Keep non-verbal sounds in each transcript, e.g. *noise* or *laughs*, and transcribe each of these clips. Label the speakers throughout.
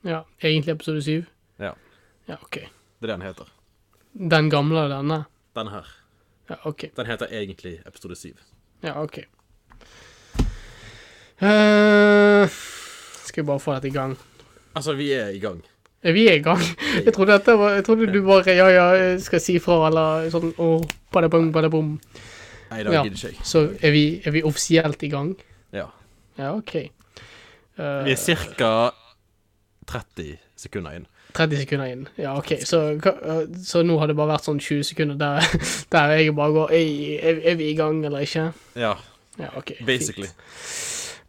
Speaker 1: Ja, egentlig episode 7.
Speaker 2: Ja,
Speaker 1: Ja, OK.
Speaker 2: det er det den heter.
Speaker 1: Den gamle og denne?
Speaker 2: Den her.
Speaker 1: Ja, OK.
Speaker 2: Den heter egentlig episode 7.
Speaker 1: Ja, OK. Eh, skal vi bare få dette i gang?
Speaker 2: Altså, vi er i gang.
Speaker 1: Er vi i gang? *laughs* Jeg trodde, dette var, jeg trodde du bare ja, ja, jeg skal si fra, eller sånn åh, badabum, badabum.
Speaker 2: Nei, i dag
Speaker 1: Ja.
Speaker 2: gidder ikke jeg.
Speaker 1: Så er vi, er vi offisielt i gang?
Speaker 2: Ja.
Speaker 1: Ja, OK. Eh,
Speaker 2: Vi er ca. 30 sekunder inn.
Speaker 1: 30 sekunder inn. Ja, OK. Så, hva- eh, så nå har det bare vært sånn 20 sekunder der, *laughs* der jeg bare går «Ei, er, er vi i gang eller ikke?
Speaker 2: Ja,
Speaker 1: Ja, OK. fint.
Speaker 2: basically.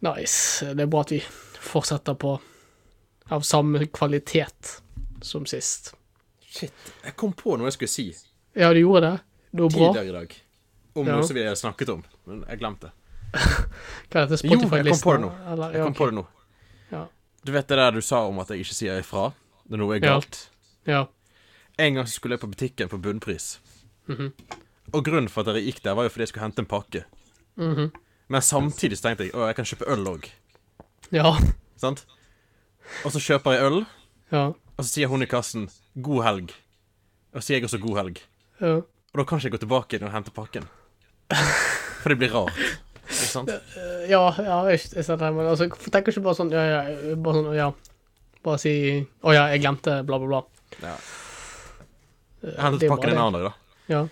Speaker 1: Nice. Det er bra at vi fortsetter på av samme kvalitet som sist.
Speaker 2: Shit. Jeg kom på noe jeg skulle si
Speaker 1: Ja, du gjorde det? Det var bra.
Speaker 2: tidligere i dag. Om
Speaker 1: Ja.
Speaker 2: noe som vi har snakket om. Men jeg glemte.
Speaker 1: Hva er dette?
Speaker 2: Jo, jeg kom på det
Speaker 1: Spotify-listen?
Speaker 2: nå.
Speaker 1: Eller-
Speaker 2: Jeg
Speaker 1: Ja,
Speaker 2: kom på det nå.
Speaker 1: Ja.
Speaker 2: Du vet det der du sa om at jeg ikke sier ifra når noe er
Speaker 1: Ja.
Speaker 2: galt?
Speaker 1: ja.
Speaker 2: En gang så skulle jeg på butikken på bunnpris.
Speaker 1: Mhm.
Speaker 2: Og grunnen for at jeg gikk der, var jo fordi jeg skulle hente en pakke.
Speaker 1: Mhm.
Speaker 2: Men samtidig så tenkte jeg å, jeg kan kjøpe øl òg.
Speaker 1: ja.
Speaker 2: Sant? Og så kjøper jeg øl,
Speaker 1: Ja.
Speaker 2: og så sier hun i kassen 'god helg'. Og så sier jeg også 'god helg'.
Speaker 1: ja.
Speaker 2: Og da kan ikke jeg gå tilbake igjen og hente pakken. For det blir rart. Ikke sant?
Speaker 1: Ja, ja, jeg jeg ser det, men altså, hvorfor tenker du ikke bare sånn, ja, ja, bare sånn, ja, bare si, å ja, jeg glemte, bla, bla, bla.
Speaker 2: Ja. Jeg
Speaker 1: Det
Speaker 2: hentet
Speaker 1: er
Speaker 2: pakken
Speaker 1: bare
Speaker 2: en annen dag, da.
Speaker 1: Ja.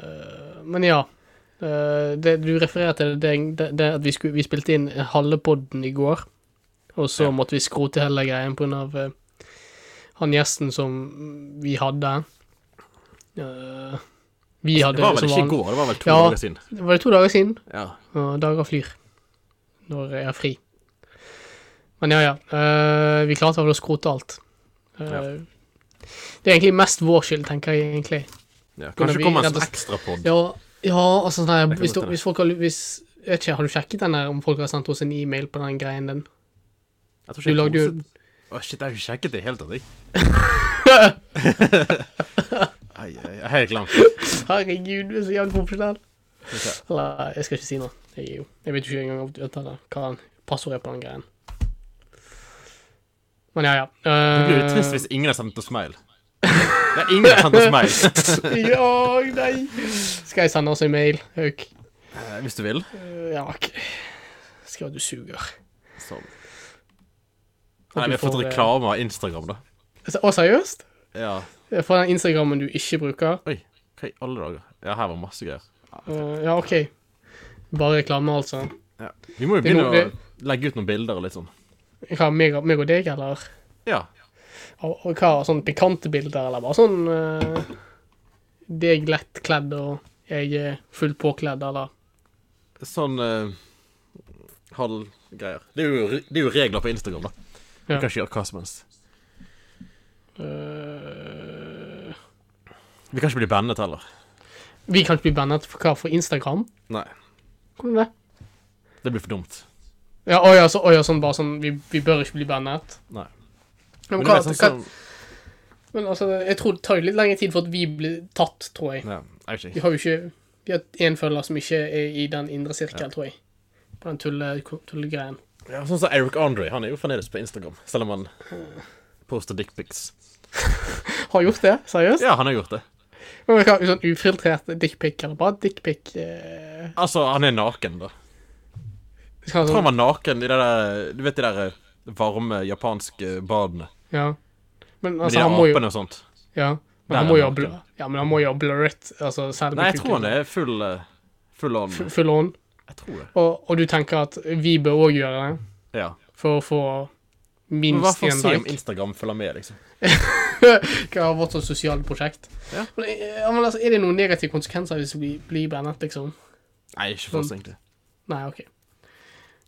Speaker 1: Eh, men ja, eh, det, du refererer til det, det, det at vi, skulle, vi spilte inn halve podden i går, og så
Speaker 2: Ja.
Speaker 1: måtte vi skrote hele greien på grunn av eh, han gjesten som vi hadde. Eh, vi hadde
Speaker 2: Altså, Det var vel
Speaker 1: som
Speaker 2: ikke i
Speaker 1: vanlig-
Speaker 2: går, det var vel to
Speaker 1: Ja.
Speaker 2: dager siden.
Speaker 1: Var det to dager siden?
Speaker 2: Ja.
Speaker 1: Og dager flyr når jeg er fri. Men ja, ja. eh, vi klarte vel å skrote alt. Eh,
Speaker 2: Ja.
Speaker 1: Det er egentlig mest vår skyld, tenker jeg egentlig.
Speaker 2: ja.
Speaker 1: Kunne
Speaker 2: Kanskje
Speaker 1: vi
Speaker 2: det kommer en
Speaker 1: rett og
Speaker 2: sånn
Speaker 1: slett-
Speaker 2: ekstrapod.
Speaker 1: Ja, ja altså sånn her,
Speaker 2: Jeg kan
Speaker 1: hvis,
Speaker 2: godt
Speaker 1: du-
Speaker 2: ta det.
Speaker 1: hvis folk har, hvis, jeg vet ikke, Har du sjekket den der om folk har sendt oss en e-mail på den greien
Speaker 2: *laughs*
Speaker 1: din?
Speaker 2: Jeg
Speaker 1: Du
Speaker 2: tror ikke jeg
Speaker 1: lagde jo-
Speaker 2: koset- Å, shit, jeg har ikke sjekket det i det
Speaker 1: *laughs*
Speaker 2: hele tatt, jeg. Nei, jeg jeg har helt glemt det.
Speaker 1: Herregud, du er så jævlig profesjonell.
Speaker 2: Skal vi se.
Speaker 1: Eller jeg skal ikke si noe. Jeg, er jo, jeg vet jo ikke engang om du vet det, hva han- passordet er på den greien. Men ja, Eh, ja.
Speaker 2: Det blir jo trist hvis ingen har sendt oss mail.
Speaker 1: Eh.
Speaker 2: Det er ingen har sendt oss mail.
Speaker 1: *laughs* *laughs* Ja, nei. Skal jeg sende oss en mail, Hauk?
Speaker 2: Eh, Hvis du vil.
Speaker 1: Eh, Ja, ok. Skriv at du suger.
Speaker 2: Sånn.
Speaker 1: At
Speaker 2: Nei,
Speaker 1: du
Speaker 2: vi har fått
Speaker 1: får, eh,
Speaker 2: reklame av Instagram, da.
Speaker 1: Se- Altså, Å, seriøst?
Speaker 2: Ja.
Speaker 1: Fra den Instagrammen du ikke bruker?
Speaker 2: Oi, hva i alle dager? Ja, her var masse greier.
Speaker 1: Eh, ja, ok. Bare reklame, altså.
Speaker 2: Ja. Vi må jo
Speaker 1: Det
Speaker 2: begynne
Speaker 1: må
Speaker 2: å legge ut noen bilder og litt sånn.
Speaker 1: Hva, meg, og- meg og deg, eller?
Speaker 2: Ja.
Speaker 1: Og, og hva, sånn pikante bilder, eller bare sånn eh, Deg lett kledd, og jeg er fullt påkledd, eller?
Speaker 2: Sånn eh, halvgreier. Det, er jo re- det er jo regler på Instagram, da. Du
Speaker 1: Ja.
Speaker 2: kan ikke gjøre hva som helst.
Speaker 1: Eh,
Speaker 2: Vi kan ikke bli bandet heller.
Speaker 1: vi kan ikke bli bandet for hva, for Instagram?
Speaker 2: Nei.
Speaker 1: Hvordan det?
Speaker 2: Det blir for dumt.
Speaker 1: Ja, å ja, så, å ja, sånn bare sånn Vi, vi bør ikke bli bandet?
Speaker 2: Nei.
Speaker 1: Men,
Speaker 2: Men du
Speaker 1: hva,
Speaker 2: vet, sånn
Speaker 1: hva,
Speaker 2: som
Speaker 1: Men altså, jeg tror det tar jo litt lengre tid for at vi blir tatt, tror jeg.
Speaker 2: Nei, jeg vet
Speaker 1: Vi
Speaker 2: ikke.
Speaker 1: har jo ikke Vi har én følger som ikke er i den indre sirkel, tror jeg. På den tulle- tullegreien.
Speaker 2: Ja, sånn som Eric Andre. Han er jo fremdeles på Instagram, selv om han *laughs* poster dickpics.
Speaker 1: har gjort det? Seriøst?
Speaker 2: Ja, han har gjort det.
Speaker 1: Men hva, sånn ufiltrert dickpic, eller bare dickpic eh,
Speaker 2: Altså, han er naken, da.
Speaker 1: skal
Speaker 2: Jeg tror han
Speaker 1: sånn,
Speaker 2: var naken i det der Du vet de der eh, varme japanske badene?
Speaker 1: Ja. Men
Speaker 2: Med
Speaker 1: altså,
Speaker 2: de
Speaker 1: han
Speaker 2: der
Speaker 1: må jo
Speaker 2: apene og sånt?
Speaker 1: Ja. Men
Speaker 2: Der
Speaker 1: han
Speaker 2: er
Speaker 1: må jo ha
Speaker 2: han
Speaker 1: blur, ja, men han må jo ha blurret altså, selve
Speaker 2: Nei, jeg tror han er full eh, Full on.
Speaker 1: f- Full on.
Speaker 2: Jeg tror det.
Speaker 1: Og, og du tenker at vi bør òg gjøre det,
Speaker 2: Ja.
Speaker 1: for å få
Speaker 2: Men hva
Speaker 1: minst
Speaker 2: får
Speaker 1: én
Speaker 2: si om
Speaker 1: like?
Speaker 2: Instagram følger med, liksom?
Speaker 1: Hva har vært sånn sosialt prosjekt?
Speaker 2: Ja.
Speaker 1: Men, eh, ja, men altså, er det noen negative konsekvenser hvis du blir, blir bandet, liksom?
Speaker 2: Nei, ikke for oss,
Speaker 1: Sånn-
Speaker 2: egentlig.
Speaker 1: Nei, OK.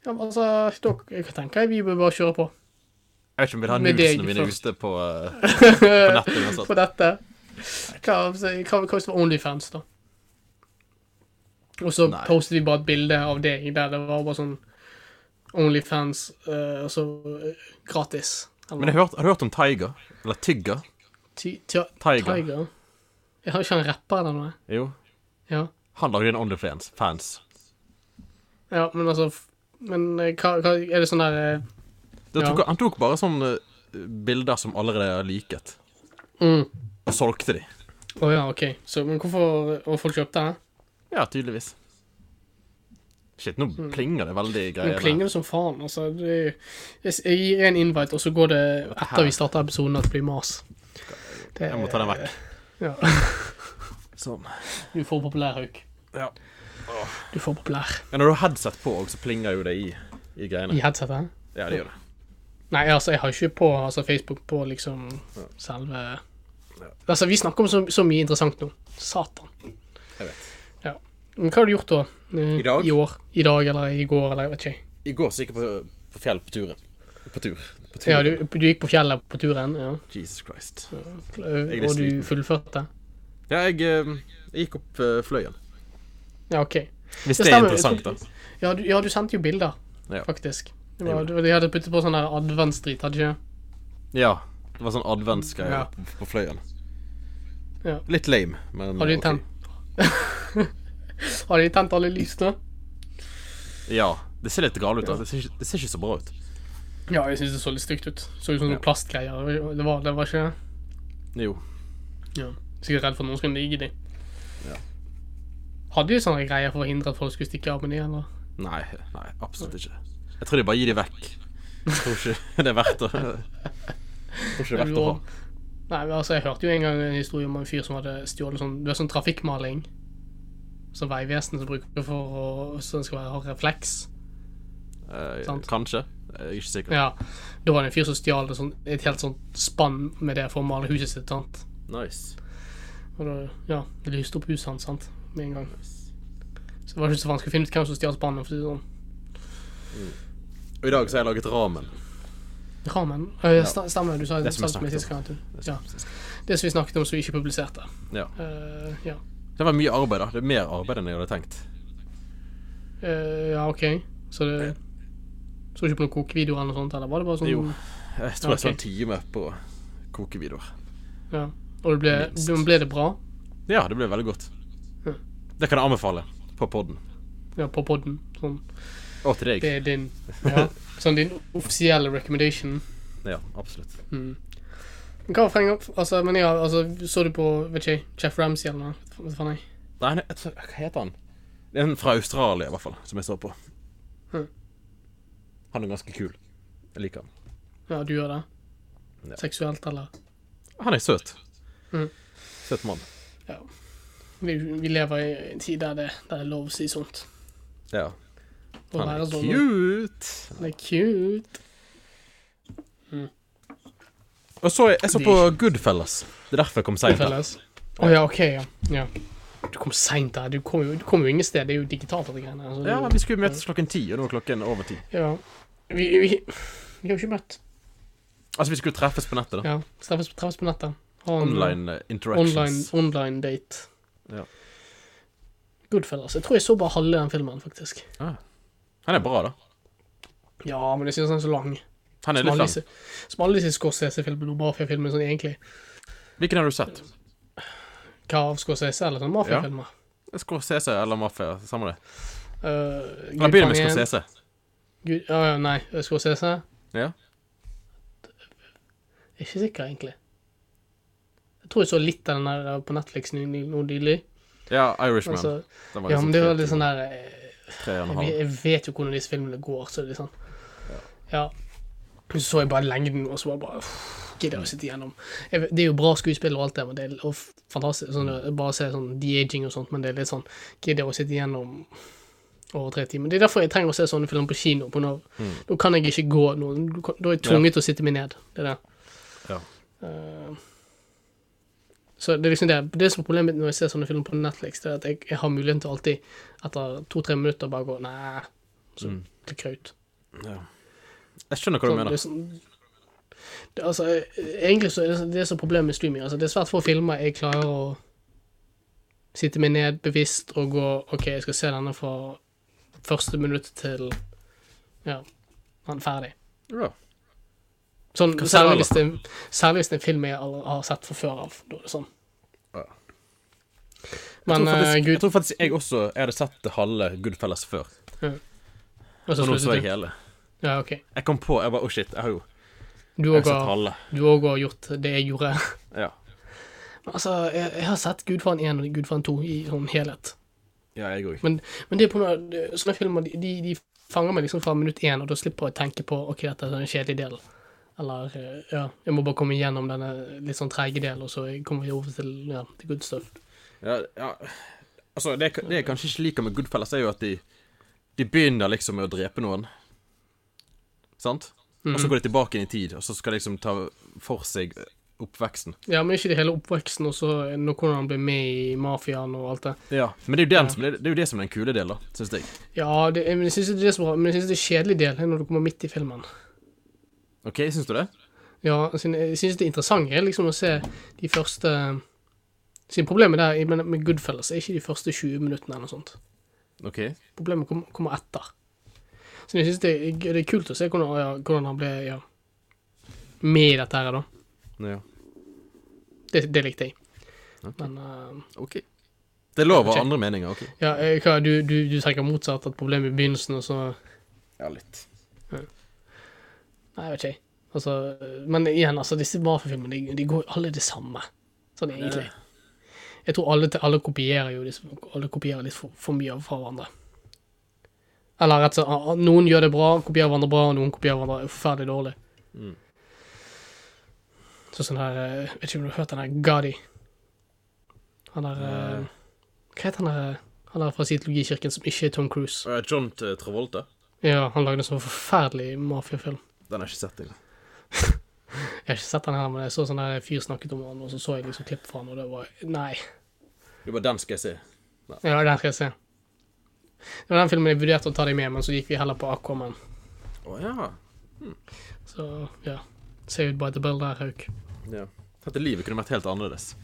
Speaker 1: Ja, men altså, da jeg tenker jeg vi bør bare kjøre på.
Speaker 2: Jeg vet ikke om jeg vil ha
Speaker 1: Med deg
Speaker 2: nusene mine
Speaker 1: først.
Speaker 2: ute på, eh,
Speaker 1: *laughs*
Speaker 2: på
Speaker 1: På
Speaker 2: nettet uansett.
Speaker 1: dette. Hva, altså, hva, hva hvis det var Onlyfans, da? Og så
Speaker 2: Nei.
Speaker 1: postet vi bare et bilde av deg der det var bare sånn Onlyfans, eh, altså eh, gratis.
Speaker 2: Men jeg har hørt, har du hørt om Tiger? Eller Tygger?
Speaker 1: Ti- Ti-
Speaker 2: Tiger.
Speaker 1: Tiger. Jeg har ikke en rapper eller noe.
Speaker 2: Jo.
Speaker 1: Ja.
Speaker 2: Han lagde en OnlyFans. Fans.
Speaker 1: Ja, men altså f- Men eh, hva, hva er det sånn der eh,
Speaker 2: Det
Speaker 1: Ja.
Speaker 2: tok, Han tok bare sånn eh, bilder som allerede er liket,
Speaker 1: Mm.
Speaker 2: og solgte de.
Speaker 1: Å ja, OK. Så, men hvorfor Og folk kjøpte den?
Speaker 2: Ja, tydeligvis. Shit, nå plinger det veldig i
Speaker 1: Mm. Nå
Speaker 2: greiene.
Speaker 1: klinger det som faen. Altså, det, er jo- jeg, jeg gir en invite, og så går det etter vi starter episoden at det blir mas. Det,
Speaker 2: Jeg må ta den
Speaker 1: Eh,
Speaker 2: vekk.
Speaker 1: Ja.
Speaker 2: Sånn.
Speaker 1: Du er for populær, Hauk.
Speaker 2: Ja.
Speaker 1: Du er for populær.
Speaker 2: Men når du har headset på òg, så plinger jo det i, i greiene.
Speaker 1: I headsetet?
Speaker 2: Ja, det gjør det.
Speaker 1: Nei, altså, jeg har ikke på altså, Facebook på liksom selve Altså, vi snakker om så, så mye interessant nå. Satan.
Speaker 2: Jeg vet.
Speaker 1: Ja. Men hva har du gjort da? eh,
Speaker 2: I dag?
Speaker 1: I år? I dag, eller i går, eller jeg vet ikke.
Speaker 2: I går så gikk jeg på, på fjell på turen. På tur. På tur.
Speaker 1: Ja, du, du gikk på fjellet på turen, ja.
Speaker 2: Jesus Christ. er litt
Speaker 1: og du
Speaker 2: sliten.
Speaker 1: fullførte?
Speaker 2: Ja, jeg, eh, jeg gikk opp eh, Fløyen.
Speaker 1: Ja, OK.
Speaker 2: Hvis
Speaker 1: Det
Speaker 2: det er
Speaker 1: stemmer.
Speaker 2: interessant, da.
Speaker 1: Ja, du, ja, du sendte jo bilder,
Speaker 2: Ja.
Speaker 1: faktisk. Det
Speaker 2: Jeg
Speaker 1: var,
Speaker 2: gjorde
Speaker 1: de hadde puttet på sånn der adventsdrit, hadde de ikke? det?
Speaker 2: Ja. Det var sånn adventsgreie
Speaker 1: Ja.
Speaker 2: på, på Fløyen.
Speaker 1: Ja.
Speaker 2: Litt lame, men eh,
Speaker 1: Har de
Speaker 2: ok.
Speaker 1: tent? *laughs* Har de tent alle lysene?
Speaker 2: Ja. Det ser litt galt ut. da. Det ser, ikke, det ser ikke så bra ut.
Speaker 1: Ja, jeg syns det så litt stygt ut. Så ut som
Speaker 2: Ja.
Speaker 1: noen plastgreier. Det var, det var ikke
Speaker 2: Jo.
Speaker 1: ja. Sikkert redd for at noen skulle ligge i de.
Speaker 2: Ja.
Speaker 1: Hadde de sånne greier for å hindre at folk skulle stikke av med de, eller?
Speaker 2: Nei, nei, absolutt ikke. Jeg tror de bare gir de vekk. Jeg tror ikke *laughs* det er verdt å Jeg tror ikke det er verdt å ha.
Speaker 1: Nei, men altså, jeg hørte jo en gang en historie om en fyr som hadde stjålet sånn Du er sånn trafikkmaling. Sånn veivesen som bruker for å Så den skal være, ha refleks.
Speaker 2: Eh,
Speaker 1: Sant.
Speaker 2: kanskje. Jeg er ikke sikker.
Speaker 1: Ja. Da var det en fyr som stjal det sånn, et helt sånt spann med det for å male huset sitt, sant.
Speaker 2: Nice.
Speaker 1: Og da, ja, det lyste opp huset hans, sant. Med en gang. Så det var ikke så vanskelig å finne ut hvem som stjal spannet, for å si det sånn.
Speaker 2: Og i dag så har jeg laget ramen.
Speaker 1: Ramen. Øh, sta- Stemmer, du sa
Speaker 2: Det
Speaker 1: sa
Speaker 2: som vi
Speaker 1: det
Speaker 2: snakket
Speaker 1: sist gang. at du- Ja. Det som vi snakket om som vi ikke publiserte.
Speaker 2: Ja.
Speaker 1: Øh, ja.
Speaker 2: Det var mye arbeid, da. Det er mer arbeid enn jeg hadde tenkt.
Speaker 1: Øh, ja, OK. Så det Så ikke på noen kokevideoer eller noe sånt? Eller var det bare sånn
Speaker 2: Jo. Jeg tror jeg så
Speaker 1: Ok.
Speaker 2: en time på kokevideoer.
Speaker 1: Ja. Og det ble,
Speaker 2: Minst.
Speaker 1: ble, ble det bra?
Speaker 2: Ja, det ble veldig godt.
Speaker 1: Ja.
Speaker 2: Det kan jeg anbefale på podden.
Speaker 1: Ja, på podden. Sånn.
Speaker 2: Og til deg.
Speaker 1: Det er din
Speaker 2: *laughs*
Speaker 1: ja. Sånn din offisielle recommendation.
Speaker 2: Ja, absolutt.
Speaker 1: Mm. Men Hva var frenga Altså, men ja, altså, så du på vet ikke, jeg, Chef Ramsay eller noe? Hva faen jeg?
Speaker 2: Nei, nei, jeg tror- hva heter han? Det er en fra Australia, i hvert fall, som jeg så på.
Speaker 1: Hm.
Speaker 2: Han er ganske kul. Jeg liker han.
Speaker 1: Ja, du gjør det?
Speaker 2: Ja.
Speaker 1: Seksuelt, eller?
Speaker 2: Han er søt.
Speaker 1: Mhm.
Speaker 2: Søt mann.
Speaker 1: Vi, vi lever i en tid der det, der det er lov å si sånt.
Speaker 2: Ja.
Speaker 1: Å
Speaker 2: Han er
Speaker 1: være sånn.
Speaker 2: cute.
Speaker 1: Han er cute.
Speaker 2: Og så jeg så
Speaker 1: Det er
Speaker 2: på Goodfellas. Det er derfor jeg kom seint. her.
Speaker 1: Felles. Å ja, OK, ja. ja. Du kom seint der. Du kom, jo, du kom jo ingen sted. Det er jo digitalt, dette greiene. Altså,
Speaker 2: Ja,
Speaker 1: det-
Speaker 2: vi skulle møtes klokken ti, og nå er klokken over ti.
Speaker 1: ja. Vi, vi, vi har jo ikke møtt.
Speaker 2: Altså, vi skulle treffes på nettet, da.
Speaker 1: Ja. Treffes, treffes på nettet. Ha en-
Speaker 2: Online eh,
Speaker 1: Online,
Speaker 2: interactions.
Speaker 1: online date.
Speaker 2: Ja.
Speaker 1: Goodfellas. Jeg tror jeg så bare halve den filmen, faktisk.
Speaker 2: Han er bra, da.
Speaker 1: Ja, men jeg synes den er så lang.
Speaker 2: Han er
Speaker 1: Som
Speaker 2: litt
Speaker 1: alle
Speaker 2: lang.
Speaker 1: disse- Som alle disse Scorsese-filmene og mafiafilmene sånn egentlig.
Speaker 2: sånn, Hvilken har du sett?
Speaker 1: Hva av Scorsese eller sånn mafiafilmer?
Speaker 2: Scorsese eller Mafia? Samme det.
Speaker 1: Uh,
Speaker 2: Eller begynner med Scorsese.
Speaker 1: Gud, ja, ja, nei, eh, Scorsese?
Speaker 2: Ja.
Speaker 1: Jeg er ikke sikker, egentlig. Jeg tror jeg så litt av den der eh, på Netflix ny- ny- nå nylig.
Speaker 2: Ja, Irishman.
Speaker 1: Altså,
Speaker 2: Den
Speaker 1: ja, men det var
Speaker 2: tre-
Speaker 1: litt sånn der eh,
Speaker 2: tre og en
Speaker 1: jeg,
Speaker 2: halv.
Speaker 1: jeg vet jo hvordan disse filmene går, så det er litt sånn Ja. Så så jeg bare lengden, og så var jeg bare uff, Gidder jeg å sitte igjennom. Jeg, vet- det er jo bra skuespill og alt det, men det er og f- fantastisk sånn, eh, bare å se sånn de-aging og sånt, men det er litt sånn Gidder jeg å sitte igjennom over tre timer. Det er derfor jeg trenger å se sånne filmer på kino. På nå- Nå kan jeg ikke gå. Nå, nå kan- da er jeg tvunget til å sitte meg ned. Det er det.
Speaker 2: Ja.
Speaker 1: Eh, Så det er liksom det. Det som er problemet mitt når jeg ser sånne filmer på Netflix, det er at jeg, jeg har muligheten til alltid, etter to-tre minutter, bare gå Nei. Så
Speaker 2: Mm.
Speaker 1: til kraut.
Speaker 2: Ja. Jeg skjønner hva du
Speaker 1: Sånn, det
Speaker 2: mener.
Speaker 1: er sånn- det, altså, eh, egentlig så er det, det er så problemet med streaming. Altså, det er svært få filmer jeg klarer å sitte meg ned bevisst og gå OK, jeg skal se denne fra første minutt til Ja, han er ferdig.
Speaker 2: Ja.
Speaker 1: Sånn,
Speaker 2: Hva ser du
Speaker 1: særlig, hvis det, særlig hvis det er en film jeg aldri har sett fra før av. Da er det sånn.
Speaker 2: Ja.
Speaker 1: Men
Speaker 2: jeg, tror
Speaker 1: eh,
Speaker 2: faktisk, jeg
Speaker 1: gud
Speaker 2: tror faktisk jeg også Jeg hadde sett det halve Goodfellas før.
Speaker 1: Og så
Speaker 2: Og nå så
Speaker 1: sluttet
Speaker 2: jeg
Speaker 1: du.
Speaker 2: hele.
Speaker 1: Ja, OK.
Speaker 2: Jeg kom på Jeg bare Å, shit. Jeg har jo
Speaker 1: Du
Speaker 2: Jeg har
Speaker 1: òg
Speaker 2: sett
Speaker 1: har,
Speaker 2: halve.
Speaker 1: du også har gjort det jeg gjorde.
Speaker 2: Ja.
Speaker 1: Men Altså, jeg, jeg har sett Gudfaren 1 og Gudfaren 2 i sånn helhet.
Speaker 2: ja, jeg òg.
Speaker 1: Men det er på grunn av det- sånne filmer de, de, de fanger meg liksom fra minutt én, og da slipper jeg å tenke på ok, dette er den kjedelige delen. Eller eh, ja, jeg må bare komme gjennom denne litt sånn treige delen, og så kommer vi over til ja, the good stuff.
Speaker 2: Ja, ja. Altså, det, det jeg kanskje ikke liker med Goodfellas, er jo at de, de begynner liksom med å drepe noen. Sant?
Speaker 1: Mm.
Speaker 2: Og så går de tilbake inn i tid, og så skal de liksom ta for seg eh, oppveksten.
Speaker 1: Ja, men ikke det hele oppveksten, og så eh, når hvordan han ble med i mafiaen og alt det.
Speaker 2: Ja. Men det er jo, den som, det er jo det som er den kule delen, da, syns jeg.
Speaker 1: Ja, det, men jeg synes det er det som er bra, men jeg synes det er kjedelig del er når du kommer midt i filmen.
Speaker 2: OK, syns du det?
Speaker 1: Ja, altså, jeg synes det interessante er liksom å se de første Siden problemet der med, med Goodfellas er ikke de første 20 minuttene eller noe sånt.
Speaker 2: OK.
Speaker 1: Problemet kom, kommer etter. Så jeg synes det, er- det er kult å se hvordan, ja, hvordan han ble ja, med i dette her, da.
Speaker 2: Ja.
Speaker 1: Det, det likte jeg.
Speaker 2: Ok.
Speaker 1: Men eh,
Speaker 2: OK. Det er lov å
Speaker 1: Ok.
Speaker 2: ha andre meninger. OK.
Speaker 1: ja, eh, hva, du, du, du tenker motsatt, at problemet i begynnelsen, og så
Speaker 2: Ja, litt.
Speaker 1: Nei, jeg vet ikke. jeg. Altså, men igjen, altså, disse mafia-filmene de, de går jo alle det samme. Sånn egentlig. Jeg tror alle, alle kopierer jo disse, alle kopierer litt for, for mye av fra hverandre. Eller rett og slett, ah, ah, noen gjør det bra, kopierer hverandre bra, og noen kopierer hverandre forferdelig dårlig.
Speaker 2: Mm.
Speaker 1: Så sånn her, eh, vet ikke om du har hørt den her Gadi. Han der, eh,
Speaker 2: Nei.
Speaker 1: hva heter han der, eh, han der fra Scientologikirken som ikke er Tom Cruise?
Speaker 2: Og John T. Travolta?
Speaker 1: Ja, han lagde en sånn forferdelig mafiafilm.
Speaker 2: Den har jeg ikke sett engang.
Speaker 1: Jeg har ikke sett den her, men jeg så sånn der fyr snakket om han, og så så jeg liksom klipp fra han, og det var Nei.
Speaker 2: Jo, bare den skal jeg se.
Speaker 1: Ja, den skal jeg se. Det var den filmen jeg vurderte å ta deg med, men så gikk vi heller på Aquaman.
Speaker 2: Å ja.
Speaker 1: Så ja. Saved by the bell der, Hauk.
Speaker 2: ja. Dette livet kunne vært helt annerledes.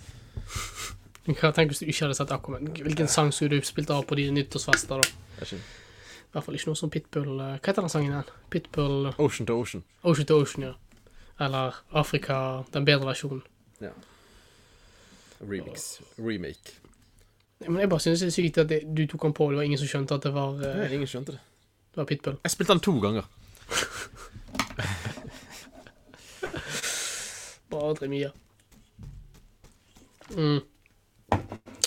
Speaker 1: Hva tenker du hvis du ikke hadde sett Aquaman? Hvilken sang skulle du spilt av på de nyttårsfester, da?
Speaker 2: Jeg skjønner.
Speaker 1: I hvert fall ikke noe som Pitbull eh, Hva heter den sangen igjen? Pitbull eh,
Speaker 2: Ocean to ocean.
Speaker 1: Ocean to Ocean, ja. Eller Afrika, den bedre versjonen.
Speaker 2: Remix. Remake.
Speaker 1: Men jeg bare synes det er sykt at det, du tok han på, og det var ingen som skjønte at det var, eh,
Speaker 2: ingen skjønte det.
Speaker 1: det var Pitbull.
Speaker 2: Jeg spilte den to ganger.
Speaker 1: Bare tre mye. Mm.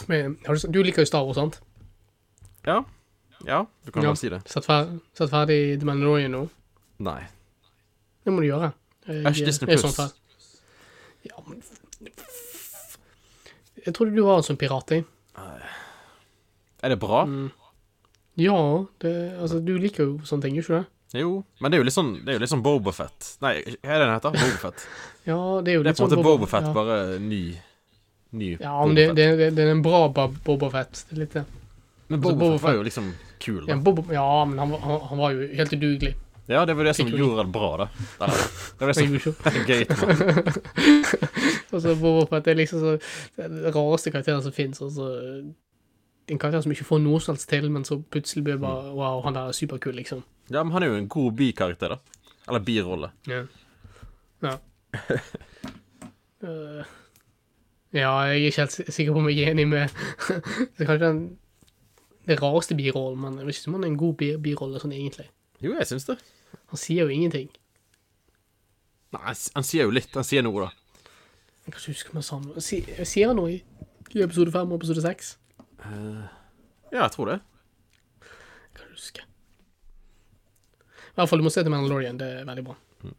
Speaker 1: Men, har du, du liker jo Star Wars, sant?
Speaker 2: Ja. Ja, du kan
Speaker 1: Ja.
Speaker 2: vel si det.
Speaker 1: Sett, fer, sett ferdig The Mandalorian nå.
Speaker 2: Nei.
Speaker 1: Det må du gjøre. Jeg,
Speaker 2: Er ikke Disney
Speaker 1: er
Speaker 2: Plus?
Speaker 1: sånn fer- ja, men Jeg trodde du var en sånn pirat, jeg.
Speaker 2: Er det bra?
Speaker 1: Mm. Ja, det, altså, du liker jo sånne ting, gjør ikke du det?
Speaker 2: Jo. Men det er jo litt sånn, det er jo litt sånn Bobafett. Nei, hva er det den heter?
Speaker 1: *laughs*
Speaker 2: Bobafett.
Speaker 1: Ja, det er jo
Speaker 2: Det er
Speaker 1: litt sånn
Speaker 2: på en måte
Speaker 1: Boba-
Speaker 2: Bobafett,
Speaker 1: ja.
Speaker 2: bare ny. Ny
Speaker 1: Ja, men det,
Speaker 2: Boba
Speaker 1: det, det, det er en bra Bob- Boba Fett. Det er litt det.
Speaker 2: Fett. Men
Speaker 1: altså, Boba
Speaker 2: Bobafett var jo liksom kul,
Speaker 1: Ja,
Speaker 2: da.
Speaker 1: Boba, ja, men han, var- han, han var jo helt udugelig.
Speaker 2: Ja, det var det som
Speaker 1: Fikk jo-
Speaker 2: gjorde
Speaker 1: *laughs*
Speaker 2: det bra, da. Eller, Det var
Speaker 1: Han
Speaker 2: det som
Speaker 1: gjorde ikke
Speaker 2: *laughs* gøy.
Speaker 1: Og så Boba Fett er liksom så det er den rareste karakteren som fins. Altså, en karakter som ikke får noe som helst til, men så plutselig blir bare Wow, han der er superkul, liksom.
Speaker 2: Ja, men han er jo en god bikarakter, da. Eller birolle.
Speaker 1: Ja. Ja. Eh, ja, jeg er ikke helt si- sikker på om jeg er enig med Det er kanskje den det rareste birollen, men jeg vet ikke om han er en god bi- birolle sånn egentlig.
Speaker 2: Jo, jeg syns det.
Speaker 1: Han sier jo ingenting.
Speaker 2: Nei, han s- han sier jo litt. Han sier noe, da.
Speaker 1: Jeg kan ikke huske om han sa noe. Si- Sier han noe i i episode fem og episode seks?
Speaker 2: Ja, jeg tror det.
Speaker 1: Kan du huske. I hvert fall, du må se til Mandalorian. Det er veldig bra.
Speaker 2: Mm.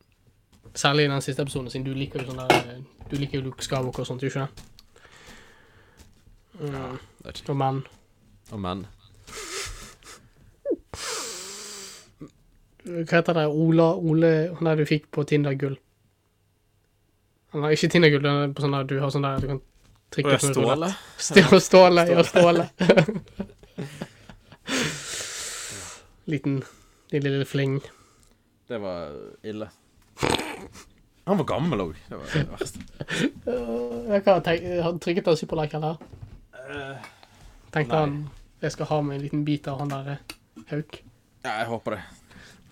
Speaker 1: Særlig i den siste episoden, siden du liker jo sånn der eh, Du liker jo Luke Skywalker og sånt, gjør du ikke det? Mm,
Speaker 2: det er ikke-
Speaker 1: og menn.
Speaker 2: Og menn.
Speaker 1: Hva heter det? Ola Ole Han der du fikk på Tinder gull. Han er ikke Tinder gull, den er på sånn der du har sånn der du kan
Speaker 2: Og
Speaker 1: trykke
Speaker 2: jeg
Speaker 1: på en rullett.
Speaker 2: stråler.
Speaker 1: Stå- Ståle. Ja,
Speaker 2: *laughs*
Speaker 1: Ståle. Liten lille, lille fling.
Speaker 2: Det var ille. Han var gammel òg. Det var det verste.
Speaker 1: Øh, Jeg kan tenke, han trykket han ikke på like eller? Tenkte
Speaker 2: nei.
Speaker 1: han jeg skal ha med en liten bit av han der eh, Hauk.
Speaker 2: Ja, jeg håper det.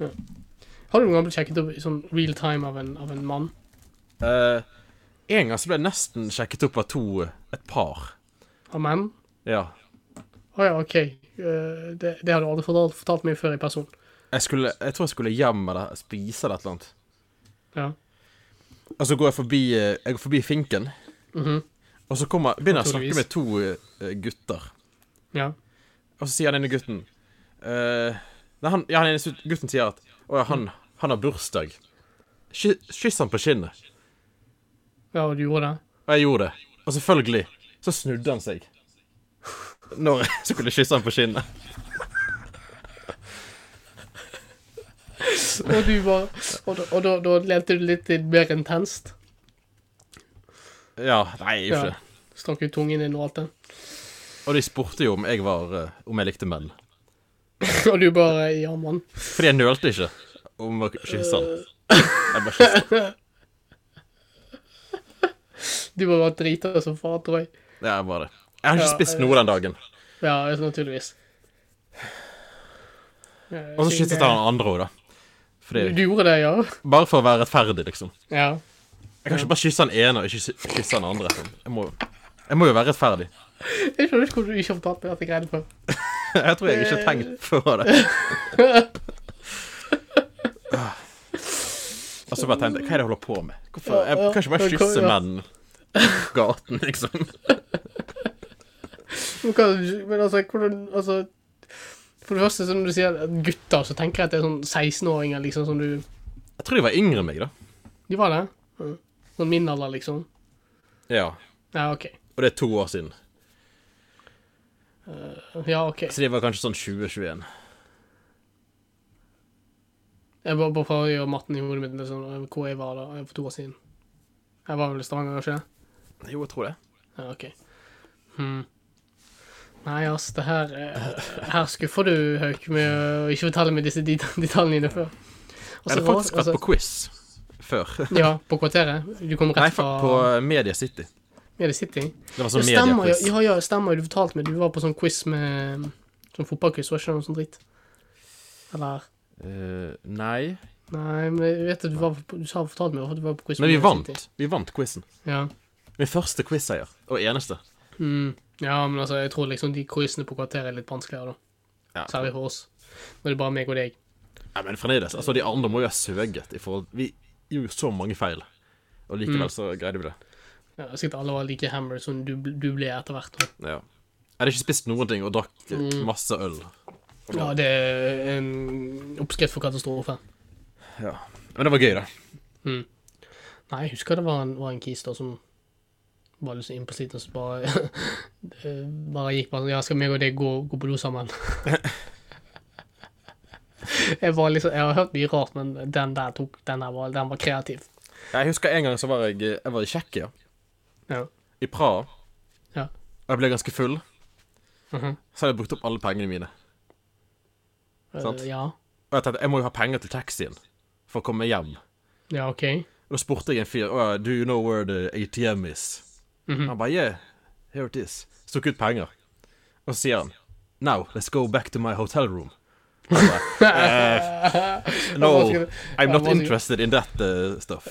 Speaker 1: Har du noen gang blitt sjekket opp i sånn real time av en, av en mann?
Speaker 2: Eh, en gang så ble jeg nesten sjekket opp av to et par.
Speaker 1: Av menn?
Speaker 2: Ja.
Speaker 1: Å ja, OK. Øh, det, det har du aldri fortalt, fortalt meg før i person.
Speaker 2: Jeg, skulle, jeg tror jeg skulle hjem eller spise eller et eller annet.
Speaker 1: Ja.
Speaker 2: Og så går jeg forbi, eh, jeg går forbi finken, og så kommer, begynner jeg å snakke med to eh, gutter.
Speaker 1: Ja.
Speaker 2: Og så sier den ene gutten eh, nei, han, Ja, den ene gutten sier at Å ja, han, han har bursdag. Ky- Kyss han på kinnet.
Speaker 1: ja, og du gjorde det?
Speaker 2: Og jeg gjorde det. Og selvfølgelig så snudde han seg. Når jeg skulle kysse han på kinnet.
Speaker 1: Og du var Og da, og da, da levde du litt mer intenst?
Speaker 2: Ja, nei, jeg gjorde ikke det.
Speaker 1: Stakk ut tungen din og alt det? *laughs*
Speaker 2: Og de spurte jo om jeg var eh, Om jeg likte menn.
Speaker 1: Og du bare Ja, mann.
Speaker 2: Fordi jeg nølte ikke om å kysse han. Jeg bare kysset.
Speaker 1: Du var bare drita som far, tror jeg.
Speaker 2: Ja, jeg var det. Jeg har ikke
Speaker 1: Ja,
Speaker 2: spist
Speaker 1: eh,
Speaker 2: noe den dagen.
Speaker 1: Ja, altså, naturligvis. Ja,
Speaker 2: Og så
Speaker 1: siden
Speaker 2: kysset
Speaker 1: det-
Speaker 2: han den andre òg, da.
Speaker 1: Du,
Speaker 2: Fordi,
Speaker 1: du gjorde det, ja?
Speaker 2: bare for å være rettferdig, liksom.
Speaker 1: Ja.
Speaker 2: Jeg kan ikke bare kysse han ene og ikke sy- kysse han andre. sånn. Jeg må, jeg må jo være rettferdig.
Speaker 1: Jeg skjønner ikke hvorfor du ikke har fortalt meg dette greiene før.
Speaker 2: *laughs* Jeg tror jeg ikke har
Speaker 1: Eh.
Speaker 2: tenkt på
Speaker 1: *laughs*
Speaker 2: det. Og så bare tenkte jeg, hva er det jeg holder på med? Hvorfor, jeg kan ikke bare kysse menn på gaten, liksom.
Speaker 1: Men hva- Men altså, hvordan Altså For det første, som du sier, at gutter, så tenker jeg at det er sånn 16-åringer, liksom, som du
Speaker 2: Jeg tror de var yngre enn meg, da.
Speaker 1: De var det? Mm. Sånn min alder, liksom?
Speaker 2: Ja.
Speaker 1: Ja, OK.
Speaker 2: Og det er to år siden.
Speaker 1: Ja, OK.
Speaker 2: Så de var kanskje sånn 20-21.
Speaker 1: Jeg var bare prøver å gjøre matten i hodet mitt liksom, hvor jeg var da for to år siden. Jeg var vel i Stavanger, ikke det?
Speaker 2: Jo, jeg tror det.
Speaker 1: Ja, OK. Hmm. Nei, ass, det her eh, Her skuffer du, Hauk, med å ikke fortelle meg disse det- *laughs* detaljene før. Altså, Og så
Speaker 2: Jeg hadde faktisk
Speaker 1: var-
Speaker 2: vært på quiz før.
Speaker 1: altså, Ja, på kvarteret? Du kom
Speaker 2: Nei,
Speaker 1: rett
Speaker 2: fa-
Speaker 1: fra
Speaker 2: på Media City.
Speaker 1: Media City?
Speaker 2: Det var
Speaker 1: Ja,
Speaker 2: sånn
Speaker 1: stemmer, ja,
Speaker 2: mediequiz.
Speaker 1: ja, ja, stemmer. Du fortalte meg du var på sånn quiz med Sånn fotballquiz, var ikke det noe sånn dritt? Eller
Speaker 2: Eh, nei.
Speaker 1: Nei, men jeg vet at du var på, Du sa fortalte meg at du var på quiz
Speaker 2: Men vi
Speaker 1: med Media City.
Speaker 2: vant. Vi vant quizen.
Speaker 1: Ja.
Speaker 2: Min første quiz-seier. Og eneste.
Speaker 1: Mm. ja, men altså, jeg tror liksom de quizene på kvarteret er litt vanskeligere, da.
Speaker 2: Ja.
Speaker 1: Særlig for oss. Når det er bare meg og deg.
Speaker 2: Nei, men fremdeles. Altså, de andre må jo ha søget i forhold Vi gjorde så mange feil, og likevel så greide vi det.
Speaker 1: Ja, sikkert alle var like hammered som du, du ble etter hvert. da.
Speaker 2: Ja. Jeg hadde ikke spist noen ting og drakk eh, masse øl.
Speaker 1: Ja, det er en oppskrift for katastrofe.
Speaker 2: Ja. Men det var gøy, da.
Speaker 1: Nei, jeg husker det var en, var en kis da som var litt så innpåsliten, så bare, *laughs* bare gikk bare sånn Ja, skal meg og deg gå, gå på do sammen? *laughs* jeg var liksom Jeg har hørt mye rart, men den der tok Den der var, den var kreativ.
Speaker 2: Jeg husker en gang så var jeg, eh, jeg var i Tsjekkia,
Speaker 1: Ja.
Speaker 2: i Praha.
Speaker 1: Ja.
Speaker 2: Og jeg ble ganske full.
Speaker 1: Mhm.
Speaker 2: Så hadde jeg brukt opp alle pengene mine.
Speaker 1: Eh,
Speaker 2: *laughs* Sant.
Speaker 1: ja.
Speaker 2: Og jeg tenkte jeg må jo ha penger til taxien for å komme hjem.
Speaker 1: ja, OK.
Speaker 2: Og da spurte jeg en fyr oh, Do you know where the ATM is? Han bare Yeah, here it is. Så tok jeg ut penger. Og så sier han Now, let's go back to my hotel room. Jeg bare, eh,
Speaker 1: *laughs*
Speaker 2: no, I'm not interested in that eh, stuff.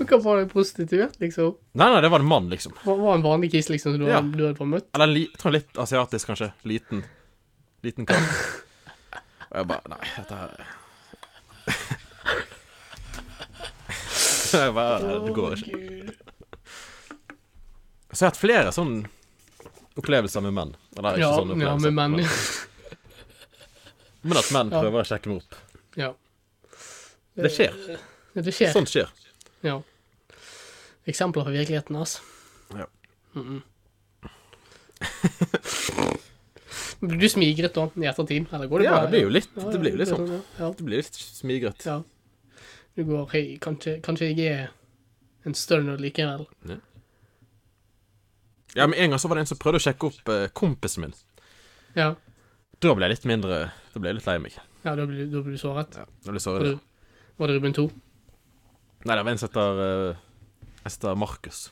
Speaker 1: Hva var det prostituert, liksom?
Speaker 2: Nei, nei, det var en mann, liksom.
Speaker 1: Var, var en vanlig kis, liksom, som du,
Speaker 2: Ja.
Speaker 1: du hadde fått møtt?
Speaker 2: Eller en li jeg tror litt asiatisk, kanskje. Liten. Liten kar. Og jeg bare Nei, dette her *laughs* Jeg bare, Det går ikke.
Speaker 1: Gud.
Speaker 2: Så jeg har hatt flere sånne opplevelser med menn. Eller, ikke sånn
Speaker 1: Ja,
Speaker 2: sånne
Speaker 1: ja,
Speaker 2: opplevelser,
Speaker 1: med menn.
Speaker 2: Men at menn
Speaker 1: Ja.
Speaker 2: prøver å sjekke meg opp.
Speaker 1: *laughs* ja.
Speaker 2: Det skjer. Sånn
Speaker 1: Ja, Det skjer.
Speaker 2: Sånt skjer.
Speaker 1: Ja. Eksempler fra virkeligheten, altså.
Speaker 2: Ja.
Speaker 1: Mm -mm. Blir du smigret da, i ettertid? Eller går det
Speaker 2: Ja,
Speaker 1: bra?
Speaker 2: det blir jo litt,
Speaker 1: Ja, ja,
Speaker 2: det blir jo litt sånn.
Speaker 1: Ja.
Speaker 2: Det blir litt smigret.
Speaker 1: ja. Du går hei, kanskje, kanskje jeg er en stønner likevel.
Speaker 2: Ja, men En gang så var det en som prøvde å sjekke opp eh, kompisen min.
Speaker 1: Ja,
Speaker 2: Da ble jeg litt mindre Da ble jeg litt lei meg.
Speaker 1: ja da blir da blir du såret.
Speaker 2: Ja, da ble jeg
Speaker 1: Var
Speaker 2: såret.
Speaker 1: det, var det Ruben 2?
Speaker 2: Nei, det var en som heter eh, Esther Markus.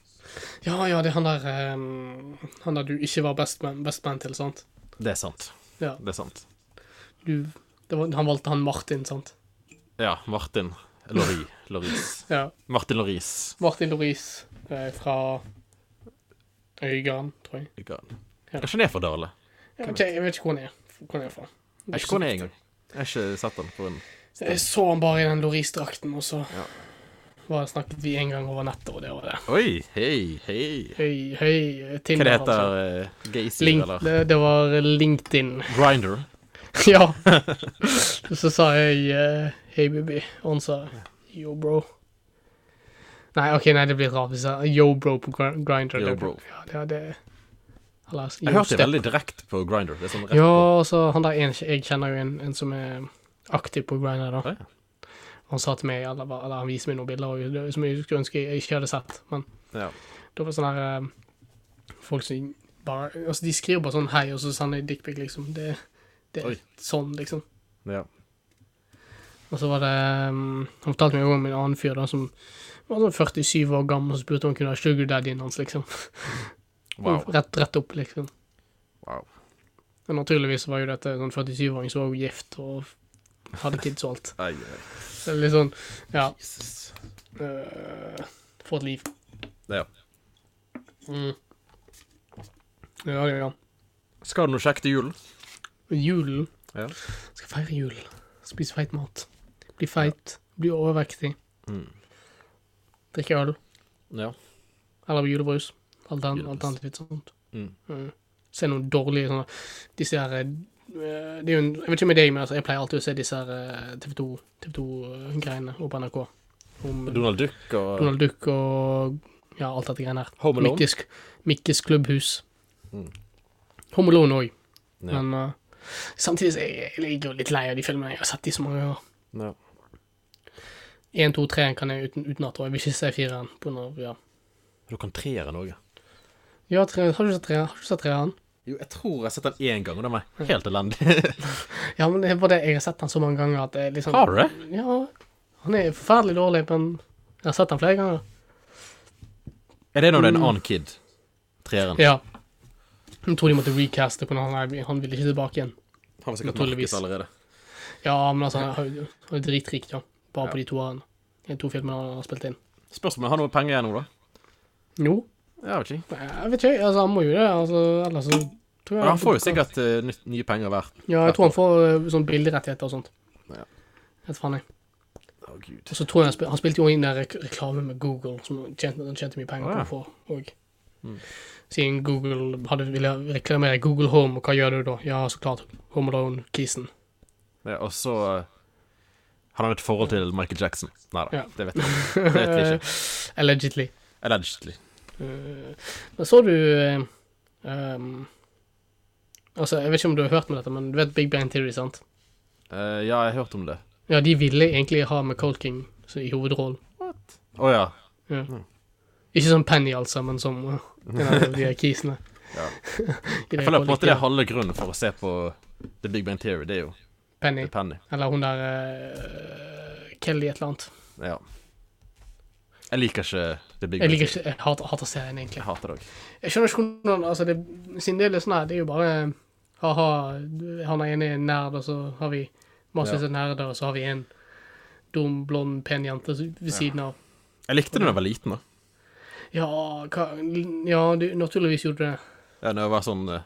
Speaker 1: Ja, ja, det er han der ehm, Han der du ikke var best man, best man til, sant?
Speaker 2: Det er sant.
Speaker 1: Ja.
Speaker 2: Det er sant.
Speaker 1: Du, det var, han valgte han Martin, sant?
Speaker 2: Ja, Martin Lori. Loris.
Speaker 1: Ja.
Speaker 2: Martin Loris.
Speaker 1: Martin Loris eh, fra Øygarden, tror jeg.
Speaker 2: Ikke han. Kanskje han er fra Dale.
Speaker 1: Jeg vet, ikke, jeg vet ikke hvor han er. Hvor han er fra.
Speaker 2: Jeg er ikke hvor han er engang. Jeg har ikke sett han på en
Speaker 1: Jeg så han bare i den Loris-drakten, og så
Speaker 2: Ja.
Speaker 1: bare snakket vi en gang over nettet, og det var det.
Speaker 2: Oi, hei, hei.
Speaker 1: Høy, høy
Speaker 2: Hva
Speaker 1: Tinder, altså.
Speaker 2: det heter eh, Gacy,
Speaker 1: Link,
Speaker 2: eller?
Speaker 1: det, det var LinkedIn. *laughs*
Speaker 2: Grinder.
Speaker 1: ja. så sa jeg eh, Hei, baby. Og han sa yo, bro. Nei, OK, nei, det blir rart hvis jeg sa yo, bro på Grinder.
Speaker 2: Yo, bro.
Speaker 1: Ja, det hadde Eller
Speaker 2: Jeg hørte det veldig direkte på Grinder. Det er sånn rett
Speaker 1: Ja,
Speaker 2: på.
Speaker 1: og så han der en, jeg kjenner jo en, en som er aktiv på Grinder,
Speaker 2: Ja,
Speaker 1: da. Han sa til meg, eller, hva- eller han viste meg noen bilder og det- som jeg skulle ønske jeg ikke hadde sett. Men
Speaker 2: Ja.
Speaker 1: det var sånn her eh, Folk som bare Altså, de skriver bare sånn hei, og så sender de dickpic, liksom. Det, det
Speaker 2: Oi.
Speaker 1: er sånn, liksom.
Speaker 2: Ja.
Speaker 1: Og så var det um, Han fortalte meg også om en annen fyr da som var sånn 47 år gammel og spurte om han kunne ha sugar daddyen hans, liksom.
Speaker 2: Wow.
Speaker 1: *laughs* Rett, rett opp, liksom.
Speaker 2: wow.
Speaker 1: Men naturligvis var jo dette sånn 47-åring som var jo gift og hadde kids og alt.
Speaker 2: Ai, ai.
Speaker 1: Så det er litt sånn Ja.
Speaker 2: Jesus.
Speaker 1: øh, for et liv.
Speaker 2: Ja.
Speaker 1: Mm. Ja, ja, ja.
Speaker 2: Skal du noe kjekt til julen?
Speaker 1: Julen
Speaker 2: Ja.
Speaker 1: Skal feire jul. Spise feit mat. Bli feit. Bli overvektig.
Speaker 2: Mm.
Speaker 1: Drikke øl.
Speaker 2: Ja.
Speaker 1: Eller julebrus. Altern,
Speaker 2: Julebrus.
Speaker 1: alternativt sånt.
Speaker 2: Mm.
Speaker 1: Mm. Se noen dårlige sånne Disse her eh, det er jo en, Jeg vet ikke med deg, men altså, jeg pleier alltid å se disse her eh, TV2-greiene og eh, på NRK. Om
Speaker 2: Mm. Donald Duck og
Speaker 1: Donald Duck og ja, alt dette greiene her.
Speaker 2: Home Alone?
Speaker 1: Mikkes, Mikkes klubbhus.
Speaker 2: Mm.
Speaker 1: Home Alone òg,
Speaker 2: Ja.
Speaker 1: men eh, samtidig så er jeg, jeg er jo litt lei av de filmene. Jeg har sett de så mange ganger.
Speaker 2: Ja.
Speaker 1: Én, to, tre kan jeg uten, utenat, og jeg vil ikke se fireren. på grunn av- Ja,
Speaker 2: Du kan treere noe.
Speaker 1: ja tre, har du sett treeren? Har du sett treeren?
Speaker 2: Jo, jeg tror jeg har sett den én gang, og den var helt elendig.
Speaker 1: Ja, men det var det jeg har sett den så mange ganger at det er liksom
Speaker 2: *laughs* Har du det?
Speaker 1: Ja, han er forferdelig dårlig, men jeg har sett den flere ganger.
Speaker 2: Er det når det er en annen kid? Treeren.
Speaker 1: Ja. Jeg tror de måtte recaste på han, her, han ville ikke tilbake igjen.
Speaker 2: Har vi sikkert
Speaker 1: Naturligvis.
Speaker 2: merket allerede.
Speaker 1: Ja, men altså, han er- han er dritrik, ja. Bare på
Speaker 2: Ja.
Speaker 1: de to årene. De to filmene han har spilt inn.
Speaker 2: Spørsmålet har du noe penger igjen nå, da?
Speaker 1: Jo,
Speaker 2: Jeg vet ikke.
Speaker 1: jeg vet ikke, altså, han må jo det. Altså, ellers så tror
Speaker 2: Men han får jo sikkert eh, nytt- nye penger hver.
Speaker 1: Ja, jeg tror han får eh, sånn bilderettigheter og sånt.
Speaker 2: Ja.
Speaker 1: Vet faen jeg.
Speaker 2: Å, gud.
Speaker 1: Og så tror jeg han, spil han spilte jo inn der rek reklame med Google, som han tjente, han tjente mye penger
Speaker 2: Å,
Speaker 1: på
Speaker 2: ja.
Speaker 1: å få. Og
Speaker 2: Mm.
Speaker 1: siden Google hadde ville reklamere Google Home, og hva gjør du da? Ja, så klart, Home Alone-kisen.
Speaker 2: Ja, og så eh, har han et forhold til Michael Jackson. Nei da,
Speaker 1: Ja.
Speaker 2: det vet jeg ikke. Det vet vi ikke.
Speaker 1: *laughs* Allegedly.
Speaker 2: Allegedly.
Speaker 1: Eh, Men så du eh, ehm, Altså, jeg vet ikke om du har hørt om dette, men du vet Big Bang Theory, sant?
Speaker 2: Eh, ja, jeg har hørt om det.
Speaker 1: Ja, de ville egentlig ha Macaulay King så i hovedrollen.
Speaker 2: Å ja.
Speaker 1: Ikke som Penny, altså, men som eh, en av de her kisene.
Speaker 2: *laughs* Ja.
Speaker 1: *laughs* I
Speaker 2: Jeg
Speaker 1: det
Speaker 2: føler på en måte det er
Speaker 1: kollektivet.
Speaker 2: halve grunnen for å se på The Big Bang Theory. Det er jo
Speaker 1: Penny.
Speaker 2: The Penny.
Speaker 1: Eller hun der eh, Kelly et eller annet.
Speaker 2: Ja. Jeg liker ikke The Big
Speaker 1: Jeg
Speaker 2: Bang
Speaker 1: liker ikke Jeg hater, hater serien, egentlig.
Speaker 2: Jeg hater det òg.
Speaker 1: Jeg skjønner ikke hvordan Altså, det, siden det er litt sånn her, det er jo bare Ha-ha, han er ene er en nerd, og så har vi massevis av nerder, og så har vi en dum, blond, pen jente s- ved siden av.
Speaker 2: Jeg likte det da jeg var liten, da.
Speaker 1: Ja, hva, ja du, naturligvis gjorde du det.
Speaker 2: Ja, Når jeg var sånn eh,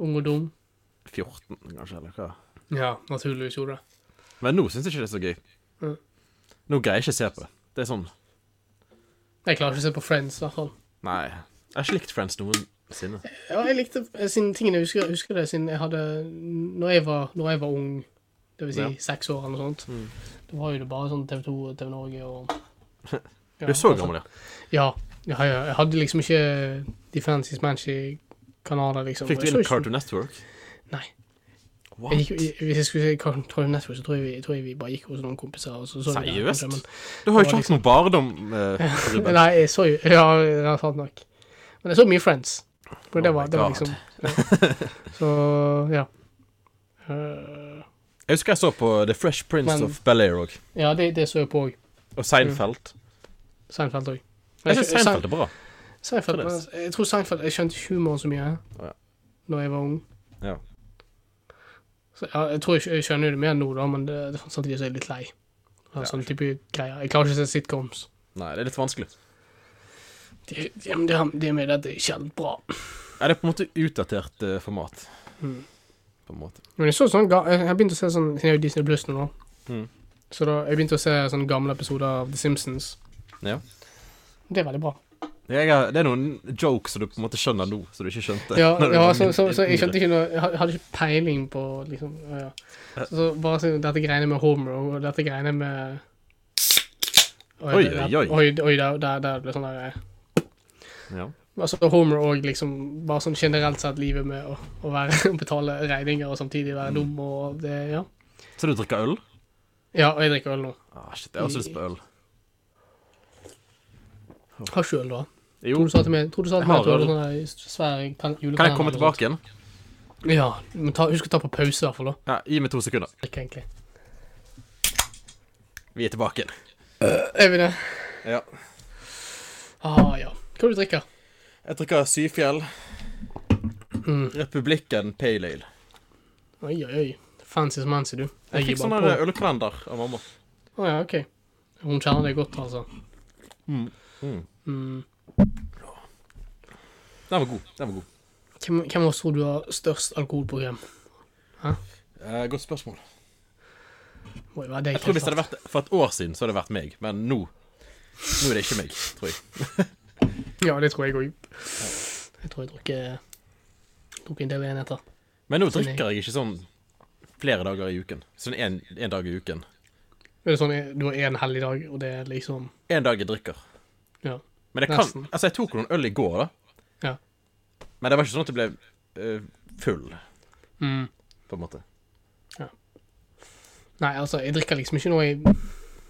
Speaker 1: Ung og dum.
Speaker 2: 14, kanskje, eller hva.
Speaker 1: Ja, naturligvis gjorde du det.
Speaker 2: Men nå syns jeg ikke det er så gøy.
Speaker 1: Mm.
Speaker 2: Nå greier jeg ikke å se på det. Det er sånn
Speaker 1: Jeg klarer ikke å se på Friends, i hvert fall.
Speaker 2: Nei. Jeg har ikke likt Friends noensinne.
Speaker 1: Ja, jeg likte eh, siden tingene jeg husker, jeg husker det siden jeg hadde Når jeg var, når jeg var ung, det vil si
Speaker 2: Ja.
Speaker 1: seks år eller noe sånt,
Speaker 2: Mm.
Speaker 1: da var jo det bare sånn TV 2 og TV Norge og
Speaker 2: *laughs* Du er
Speaker 1: altså,
Speaker 2: så gammel, ja.
Speaker 1: Ja. Jeg, har- jeg hadde liksom ikke de fancy smanchy kanaler, liksom.
Speaker 2: Fikk du
Speaker 1: Jeg
Speaker 2: inn
Speaker 1: så ikke-
Speaker 2: Cartoon Network?
Speaker 1: Nei.
Speaker 2: What?
Speaker 1: Jeg gikk, jo- hvis jeg skulle se Cartoon Network, så tror jeg, vi, jeg tror jeg vi bare gikk hos noen kompiser. Og så så vi det,
Speaker 2: Seriøst?
Speaker 1: kanskje,
Speaker 2: Du har jo
Speaker 1: Det var
Speaker 2: ikke hatt noen barndom, eh,
Speaker 1: Men,
Speaker 2: Ruben.
Speaker 1: liksom- *laughs* nei, jeg så jo Ja, det er sant nok. Men jeg så mye Friends. For det
Speaker 2: Oh
Speaker 1: var,
Speaker 2: my
Speaker 1: det var
Speaker 2: God.
Speaker 1: liksom ja.
Speaker 2: *laughs*
Speaker 1: Så ja. Eh,
Speaker 2: Jeg husker jeg så på The Fresh Prince
Speaker 1: Men-
Speaker 2: of Bel-Air òg.
Speaker 1: ja, det, det så jeg på òg.
Speaker 2: Og Seinfeld.
Speaker 1: Mm. Seinfeld òg.
Speaker 2: Jeg syns Seinfeld er bra.
Speaker 1: Seinfeld, men jeg tror Seinfeld Jeg skjønte ikke humoren så mye
Speaker 2: Å, ja.
Speaker 1: Når jeg var ung.
Speaker 2: Ja.
Speaker 1: Så, ja, jeg tror jeg, jeg skjønner det mer nå, da, men det, det, samtidig så er jeg litt lei. av
Speaker 2: Ja.
Speaker 1: Sånne type greier. Jeg klarer ikke å se sitcoms.
Speaker 2: Nei, det er litt vanskelig.
Speaker 1: Det de, de, de med det at det er sjelden bra.
Speaker 2: Nei, det er på en måte utdatert eh, format.
Speaker 1: Mm.
Speaker 2: på en måte.
Speaker 1: Men jeg så sånn, ga- jeg jeg begynte å se sånn, siden jeg er jo Disney Plus nå,
Speaker 2: Mm.
Speaker 1: så da, jeg begynte å se sånne gamle episoder av The Simpsons.
Speaker 2: Ja.
Speaker 1: Det er veldig bra.
Speaker 2: Jeg har, det er noen jokes som du på en måte skjønner nå, som du ikke skjønte.
Speaker 1: Ja,
Speaker 2: når du
Speaker 1: ja
Speaker 2: var
Speaker 1: så,
Speaker 2: min-
Speaker 1: så, så jeg
Speaker 2: mindre.
Speaker 1: skjønte ikke noe, jeg had- hadde ikke peiling på liksom, ja. ja. Så, så bare så, dette greiene med Homer, og dette greiene med...
Speaker 2: Oi,
Speaker 1: det-
Speaker 2: oi, oi.
Speaker 1: Oi, oi, der, der, der ble sånn der greie.
Speaker 2: Ja.
Speaker 1: Altså Homer og liksom bare sånn generelt sett livet med å, å være, *laughs* betale regninger og samtidig
Speaker 2: Mm.
Speaker 1: være dum og det, ja.
Speaker 2: Så du drikker øl?
Speaker 1: Ja, og jeg drikker øl nå.
Speaker 2: Ah, shit, jeg har også lyst på øl.
Speaker 1: Har ikke øl da.
Speaker 2: Oh. Jo,
Speaker 1: Tror du sa til meg, tror du sa
Speaker 2: Jeg
Speaker 1: til meg
Speaker 2: har
Speaker 1: at du hadde
Speaker 2: øl.
Speaker 1: sånn der svær pen- julekalender?
Speaker 2: kan jeg komme
Speaker 1: eller noe
Speaker 2: tilbake igjen?
Speaker 1: sånt? Ja, men ta, husk å ta på pause i hvert fall da.
Speaker 2: Ja, Gi meg to sekunder.
Speaker 1: Ikke egentlig.
Speaker 2: Vi er tilbake igjen.
Speaker 1: Er vi det?
Speaker 2: Ja.
Speaker 1: Eh, Ah, ja. Hva er det du drikker?
Speaker 2: Jeg drikker Syfjell
Speaker 1: Mm.
Speaker 2: Republikken Pale Ale.
Speaker 1: Oi, oi, oi. Fancy som fancy, du.
Speaker 2: Jeg
Speaker 1: gir
Speaker 2: fikk
Speaker 1: bare
Speaker 2: sånn
Speaker 1: på.
Speaker 2: her ølkalender av mamma.
Speaker 1: Å ja, ok. Hun kjenner deg godt, altså.
Speaker 2: Mm. Mm.
Speaker 1: Mm.
Speaker 2: Den var god. den var god.
Speaker 1: Hvem, hvem av oss tror du har størst alkoholprogram?
Speaker 2: Eh, godt spørsmål.
Speaker 1: Må jo være deg. altså.
Speaker 2: Jeg tror hvis det
Speaker 1: helt
Speaker 2: hadde vært For et år siden så hadde det vært meg, men nå Nå er det ikke meg, tror jeg.
Speaker 1: klart. Ja, det tror jeg òg. Jeg tror jeg drukker Drukker en del enheter.
Speaker 2: Men nå
Speaker 1: Sånn
Speaker 2: drikker jeg ikke sånn flere dager i uken. Sånn en, en dag i uken.
Speaker 1: Er det sånn du har én hellig dag, og det er liksom
Speaker 2: En dag jeg drikker.
Speaker 1: Ja.
Speaker 2: Men jeg kan
Speaker 1: Nesten.
Speaker 2: Altså, jeg tok noen øl i går, da.
Speaker 1: Ja.
Speaker 2: Men det var ikke sånn at jeg ble eh, full,
Speaker 1: Mm.
Speaker 2: på en måte.
Speaker 1: Nei, altså, jeg drikker liksom ikke noe jeg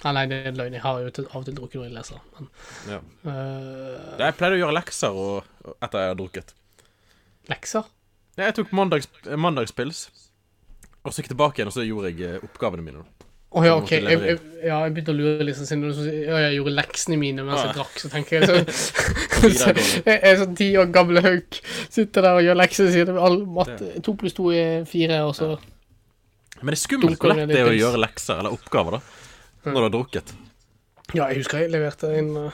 Speaker 1: Ah, nei, det er løgn. Jeg har jo til- av og til drukket noe jeg leser, men
Speaker 2: Ja.
Speaker 1: øh,
Speaker 2: Jeg pleide å gjøre lekser og, og etter jeg hadde drukket.
Speaker 1: Eh, Lekser?
Speaker 2: Ja, Jeg tok mandags, eh, mandagspils, og så gikk jeg tilbake igjen, og så gjorde jeg eh, oppgavene
Speaker 1: *laughs*
Speaker 2: mine.
Speaker 1: Å ja, ok.
Speaker 2: Du måtte
Speaker 1: Jeg,
Speaker 2: levere
Speaker 1: jeg, ja, jeg begynte å lure liksom, siden du så- ja, jeg gjorde leksene mine mens
Speaker 2: Ah.
Speaker 1: jeg drakk, så tenker jeg sånn *laughs* så,
Speaker 2: Videregående.
Speaker 1: Jeg er sånn ti år gamle hauk, sitter der og gjør lekser, sier det all matte To pluss to er fire, og så
Speaker 2: Men det er skummelt hvor
Speaker 1: Dunker
Speaker 2: lett
Speaker 1: ned i
Speaker 2: det er å
Speaker 1: pils.
Speaker 2: gjøre lekser eller oppgaver, da. Når du har drukket.
Speaker 1: Ja, jeg husker jeg leverte inn uh,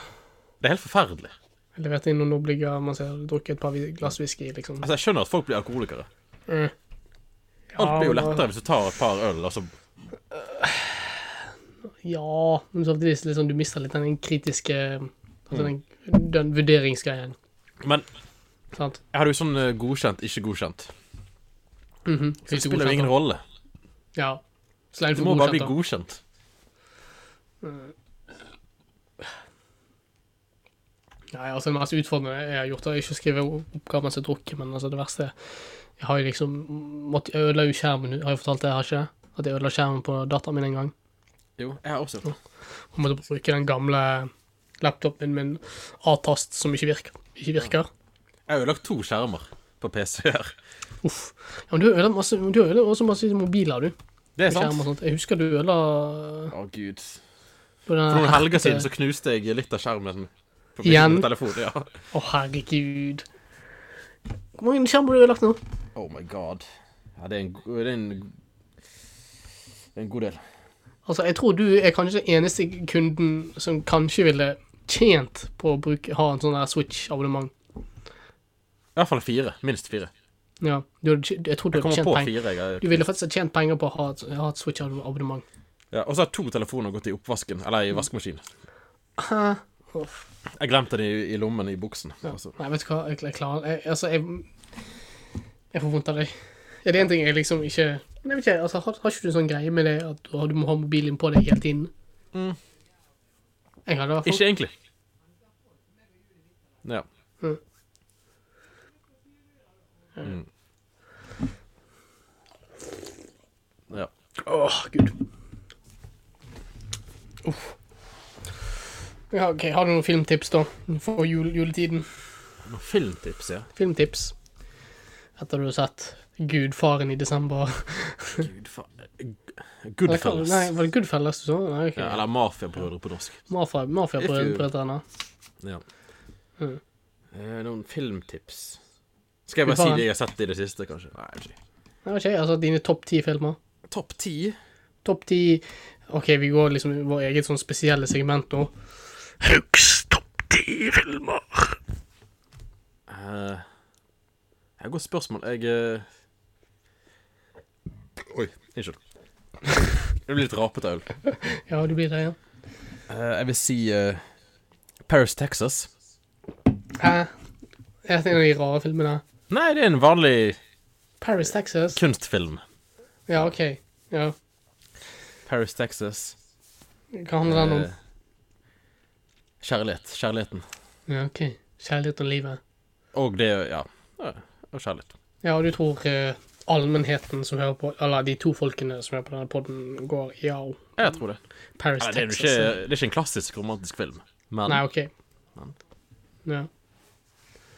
Speaker 2: Det er helt forferdelig.
Speaker 1: Jeg leverte inn noen obliger mens jeg hadde drukket et par vi- glass whisky, liksom.
Speaker 2: Altså, jeg skjønner at folk blir alkoholikere.
Speaker 1: Mm.
Speaker 2: Alt blir jo
Speaker 1: Ja,
Speaker 2: lettere hvis du tar et par øl, og så
Speaker 1: Ja, men samtidig så liksom, du mister litt den kritiske Altså
Speaker 2: Mm.
Speaker 1: den, den vurderingsgreien,
Speaker 2: Men
Speaker 1: sant?
Speaker 2: jeg hadde jo sånn eh, godkjent, ikke godkjent.
Speaker 1: Mm
Speaker 2: Så det spiller jo ingen rolle.
Speaker 1: Ja. Så lenge
Speaker 2: Du
Speaker 1: du
Speaker 2: må
Speaker 1: får
Speaker 2: bare
Speaker 1: godkjent, da.
Speaker 2: bli godkjent.
Speaker 1: Nei, altså det mest utfordrende jeg har gjort, er ikke å skrive oppgaver mens jeg drukker, men altså det verste Jeg har jo liksom måtte, Jeg ødela jo skjermen, har jeg fortalt det, har jeg ikke? At jeg ødela skjermen på datteren min en gang.
Speaker 2: Jo, jeg har også gjort det.
Speaker 1: Og måtte bruke den gamle laptopen min, A-tast, som ikke virker. Ikke virker.
Speaker 2: Jeg har ødelagt to skjermer på PC-er.
Speaker 1: Uff. Ja, men du ødela masse, men du ødela også masse mobiler, du.
Speaker 2: Det er
Speaker 1: Med skjerm
Speaker 2: sant.
Speaker 1: og sånt. Jeg husker du ødela
Speaker 2: Å, gud.
Speaker 1: på den
Speaker 2: For noen helger
Speaker 1: herkete-
Speaker 2: siden så knuste jeg litt av skjermen på min
Speaker 1: Igjen?
Speaker 2: telefon. Ja.
Speaker 1: Å, herregud. Hvor mange skjermer har du ødelagt nå?
Speaker 2: Oh my god. Ja, det er en, go- det er en, det er en god del.
Speaker 1: Altså, jeg tror du er kanskje den eneste kunden som kanskje ville tjent på å bruke, ha en sånn der Switch-abonnement.
Speaker 2: I hvert fall fire. Minst fire.
Speaker 1: Ja, du hadde, tj- jeg tror du
Speaker 2: Jeg
Speaker 1: hadde
Speaker 2: kommer
Speaker 1: tjent
Speaker 2: på
Speaker 1: penger.
Speaker 2: fire. Jeg,
Speaker 1: Du ville faktisk ha tjent penger på å ha et, ha et Switch-abonnement.
Speaker 2: ja, og så har to telefoner gått i oppvasken, eller i vaskemaskinen.
Speaker 1: Hæ? Uff.
Speaker 2: Jeg glemte det i, i lommen i buksen. altså. og så-
Speaker 1: Nei, vet du hva, jeg, jeg klarer jeg, Altså, jeg Jeg får vondt av deg. Er det én ting jeg liksom ikke Men jeg vet ikke, altså, har, har ikke du sånn greie med det at du, du må ha mobilen på deg hele tiden?
Speaker 2: Mm.
Speaker 1: Jeg hadde i hvert fall
Speaker 2: Ikke egentlig. Ja.
Speaker 1: Mm.
Speaker 2: Mm. Ja.
Speaker 1: Åh, gud. Uff. Ja, ok, Har du noen filmtips, da? For jul, juletiden.
Speaker 2: Noen filmtips,
Speaker 1: *laughs*
Speaker 2: ja.
Speaker 1: Filmtips. Etter du har sett Gudfaren i desember.
Speaker 2: Gud, faen.
Speaker 1: Nei,
Speaker 2: Goodfellas.
Speaker 1: var det Goodfellas du så? Nei, ok.
Speaker 2: Ja, eller Mafiabrødre på norsk.
Speaker 1: Mafia, mafia
Speaker 2: If
Speaker 1: på
Speaker 2: you-
Speaker 1: brødrene.
Speaker 2: Ja.
Speaker 1: Mm.
Speaker 2: Eh, Noen filmtips Skal jeg bare si
Speaker 1: Goodfellas.
Speaker 2: det jeg har sett i det siste, kanskje? Nei, jeg vet ikke.
Speaker 1: Nei, ok, altså dine topp ti filmer.
Speaker 2: Topp ti?
Speaker 1: Topp ti OK, vi går liksom i vår eget sånn spesielle segment nå. Hauks topp ti filmer.
Speaker 2: Eh, Det er et godt spørsmål. Jeg eh, Oi, *laughs* unnskyld. Jeg blir litt rapet av øl.
Speaker 1: Ja, du blir det, ja.
Speaker 2: Eh, jeg vil si eh, Paris, Texas.
Speaker 1: Hæ? Er dette en av de rare filmene?
Speaker 2: Nei, det er en vanlig
Speaker 1: Paris, Texas?
Speaker 2: kunstfilm.
Speaker 1: Ja, OK. Ja.
Speaker 2: Paris, Texas.
Speaker 1: Hva handler den om?
Speaker 2: Eh, Kjærlighet. Kjærligheten.
Speaker 1: Ja, OK. Kjærlighet og livet.
Speaker 2: Og det Ja. ja, Og kjærlighet.
Speaker 1: Ja, og du tror eh, allmennheten som hører på, eller de to folkene som hører på denne podden, går ja,
Speaker 2: Jeg tror det.
Speaker 1: Paris,
Speaker 2: Ja, det, er jo
Speaker 1: Texas.
Speaker 2: ikke, det er ikke en klassisk romantisk film, men
Speaker 1: Nei, OK.
Speaker 2: Men-
Speaker 1: Ja.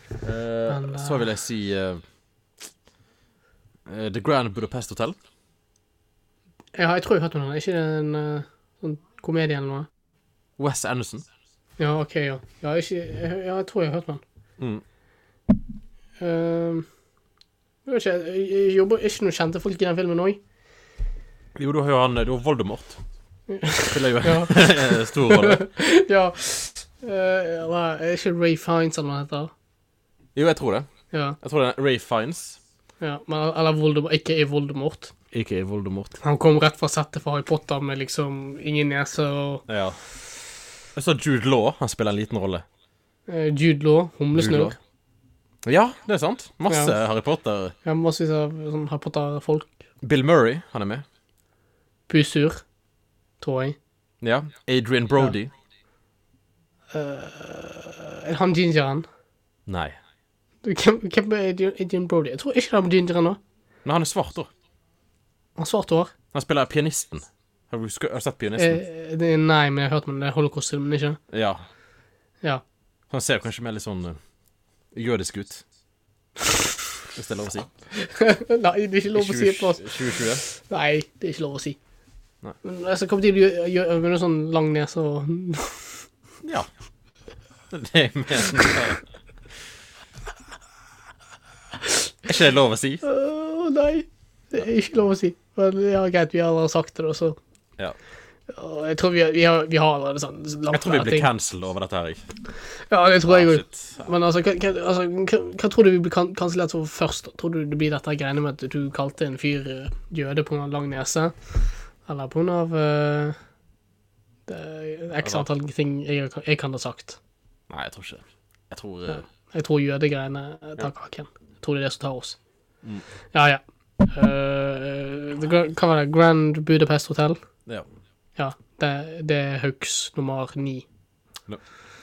Speaker 2: eh,
Speaker 1: Men, eh,
Speaker 2: Så vil jeg si eh, eh, The Grand Budapest Hotel.
Speaker 1: ja, jeg tror jeg har hørt om den. Er ikke det en eh, sånn komedie eller noe?
Speaker 2: Wes Anderson.
Speaker 1: Ja, OK, ja. Ja, ikke, jeg, ja, jeg tror jeg har hørt om den.
Speaker 2: Mm.
Speaker 1: Ehm, jeg vet ikke, jeg- jeg jobber er ikke noen kjente folk i den filmen òg.
Speaker 2: Jo, du har jo han Du har Voldemort.
Speaker 1: *laughs*
Speaker 2: Spiller jo
Speaker 1: Mm. Ja.
Speaker 2: en *laughs* stor rolle.
Speaker 1: *laughs* ja. Eh, eller er ikke Ray Fiennes eller noe heter?
Speaker 2: Jo, jeg tror det.
Speaker 1: Ja,
Speaker 2: Jeg tror det er Ray Fiends.
Speaker 1: ja. Men, eller Voldemort, ikke er Voldemort.
Speaker 2: Ikke Voldemort.
Speaker 1: Han kom rett fra settet for Harry Potter med liksom ingen nese og
Speaker 2: Ja. Jeg så Jude Law. Han spiller en liten rolle.
Speaker 1: eh, Jude Law,
Speaker 2: Jude
Speaker 1: humlesnurr.
Speaker 2: Law. Ja, det er sant. Masse
Speaker 1: Ja.
Speaker 2: Harry Potter.
Speaker 1: Ja, massevis av sånn Harry Potter-folk.
Speaker 2: Bill Murray, han er med.
Speaker 1: Pusur, tror jeg.
Speaker 2: Ja. Adrian Brody.
Speaker 1: Er Eh, han gingeren?
Speaker 2: Nei.
Speaker 1: Hvem, hvem er Adrian- Adrian Brody? Jeg tror ikke det er gingeren nå.
Speaker 2: Men han er svart, da.
Speaker 1: Han har svart hår.
Speaker 2: Han spiller pianisten. Har du, sku- har du sett pianisten?
Speaker 1: Eh, det, nei, men jeg har hørt om den. Det er holocaust-filmen, ikke
Speaker 2: Ja.
Speaker 1: Ja. *laughs*
Speaker 2: Han ser jo kanskje mer litt sånn eh, jødisk ut. Hvis det er lov å si.
Speaker 1: Nei, det er ikke lov å si
Speaker 2: I
Speaker 1: et plass.
Speaker 2: 2020.
Speaker 1: Nei, det er ikke lov å si.
Speaker 2: Nei.
Speaker 1: Men altså, hva betyr det å gjøre med noe sånn lang nese og *laughs*
Speaker 2: Ja. Det er mer sånn Er ikke det lov å si?
Speaker 1: Åh, Nei, det er ikke lov å si. Men ja, greit, vi har allerede sagt det, og så
Speaker 2: Ja.
Speaker 1: Åh, Jeg tror vi, vi, har, vi har allerede sånn lagt
Speaker 2: Jeg tror vi
Speaker 1: ned
Speaker 2: blir
Speaker 1: ting.
Speaker 2: cancelled over dette her. jeg.
Speaker 1: Ja, det tror jeg
Speaker 2: Ah,
Speaker 1: òg.
Speaker 2: shit.
Speaker 1: Men altså, hva, hva, altså hva, hva tror du vi blir kan- kansellert for først? Tror du det blir dette greiene med at du kalte en fyr eh, jøde pga. lang nese? Eller pga. Uh, x
Speaker 2: Hva da?
Speaker 1: antall ting jeg, jeg kan ha sagt?
Speaker 2: Nei, jeg tror ikke det. Jeg tror eh,
Speaker 1: Jeg tror jødegreiene eh, tar kaken. Jeg tror det er det som tar oss.
Speaker 2: Mm.
Speaker 1: Ja, ja. Eh, det gra- hva var det? Grand Budapest Hotel?
Speaker 2: Ja.
Speaker 1: Ja, det, det er Hauks nummer ni.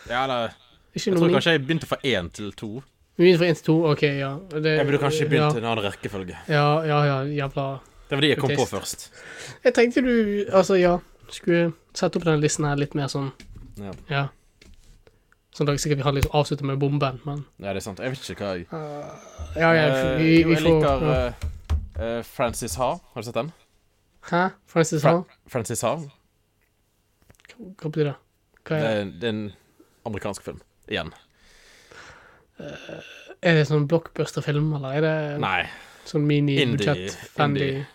Speaker 2: ja eller
Speaker 1: Ikke
Speaker 2: Jeg
Speaker 1: nummer
Speaker 2: tror
Speaker 1: ni?
Speaker 2: kanskje jeg begynte fra én til to.
Speaker 1: Vi begynner fra én til to. OK, ja. Det,
Speaker 2: Jeg burde kanskje
Speaker 1: Eh, ja,
Speaker 2: begynt i en annen rekkefølge.
Speaker 1: ja, ja, ja, jævla
Speaker 2: Det var de jeg kom på
Speaker 1: Autist.
Speaker 2: først.
Speaker 1: Jeg tenkte du Altså, ja. Skulle sette opp denne listen her litt mer sånn,
Speaker 2: Ja.
Speaker 1: ja. Sånn at jeg sikkert vi hadde liksom avsluttet med bomben, men
Speaker 2: ja, det er sant. Jeg vet ikke hva jeg
Speaker 1: Ja, ja,
Speaker 2: Eh,
Speaker 1: vi,
Speaker 2: jo,
Speaker 1: vi
Speaker 2: jeg
Speaker 1: får
Speaker 2: liker
Speaker 1: ja.
Speaker 2: eh, eh, Frances Ha. Har du sett den?
Speaker 1: Hæ? Francis
Speaker 2: Fra-
Speaker 1: Hall?
Speaker 2: Frances Ha.
Speaker 1: Hva betyr det? Hva
Speaker 2: Det
Speaker 1: er det?
Speaker 2: er, det er en amerikansk film. Igjen.
Speaker 1: Er det sånn blockbuster-film, eller er det
Speaker 2: Nei.
Speaker 1: sånn
Speaker 2: Indie-
Speaker 1: mini-budsjett? Fandy?
Speaker 2: indie.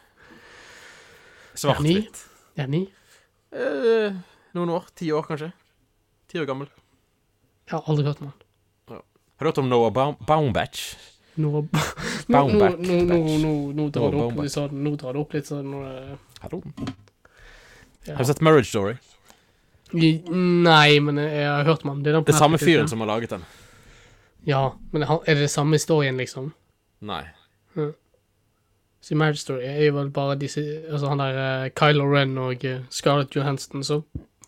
Speaker 2: Svart-hvitt.
Speaker 1: Ja, ni?
Speaker 2: Eh, noen år. Ti år, kanskje. Ti år gammel.
Speaker 1: Jeg har aldri hørt om den.
Speaker 2: Har du hørt om Noah Baum Baumbach?
Speaker 1: Nå *laughs* Nå- nå-
Speaker 2: Baumback.
Speaker 1: nå- nå- nå- nå drar
Speaker 2: Nå,
Speaker 1: det opp
Speaker 2: Baumback.
Speaker 1: litt sånn- nå drar det opp litt sånn eh,
Speaker 2: Hallo.
Speaker 1: Ja.
Speaker 2: Har du sett Marriage Story?
Speaker 1: i- Nei, men jeg jeg har hørt om den. Det er den på
Speaker 2: Det er samme
Speaker 1: Netflix,
Speaker 2: fyren
Speaker 1: ja.
Speaker 2: som har laget den.
Speaker 1: Ja, men han- er det samme historien, liksom?
Speaker 2: Nei.
Speaker 1: Så i Marriage Story er jo vel bare disse Altså han der eh, Kylo Ren og eh, Scarlett Johansson som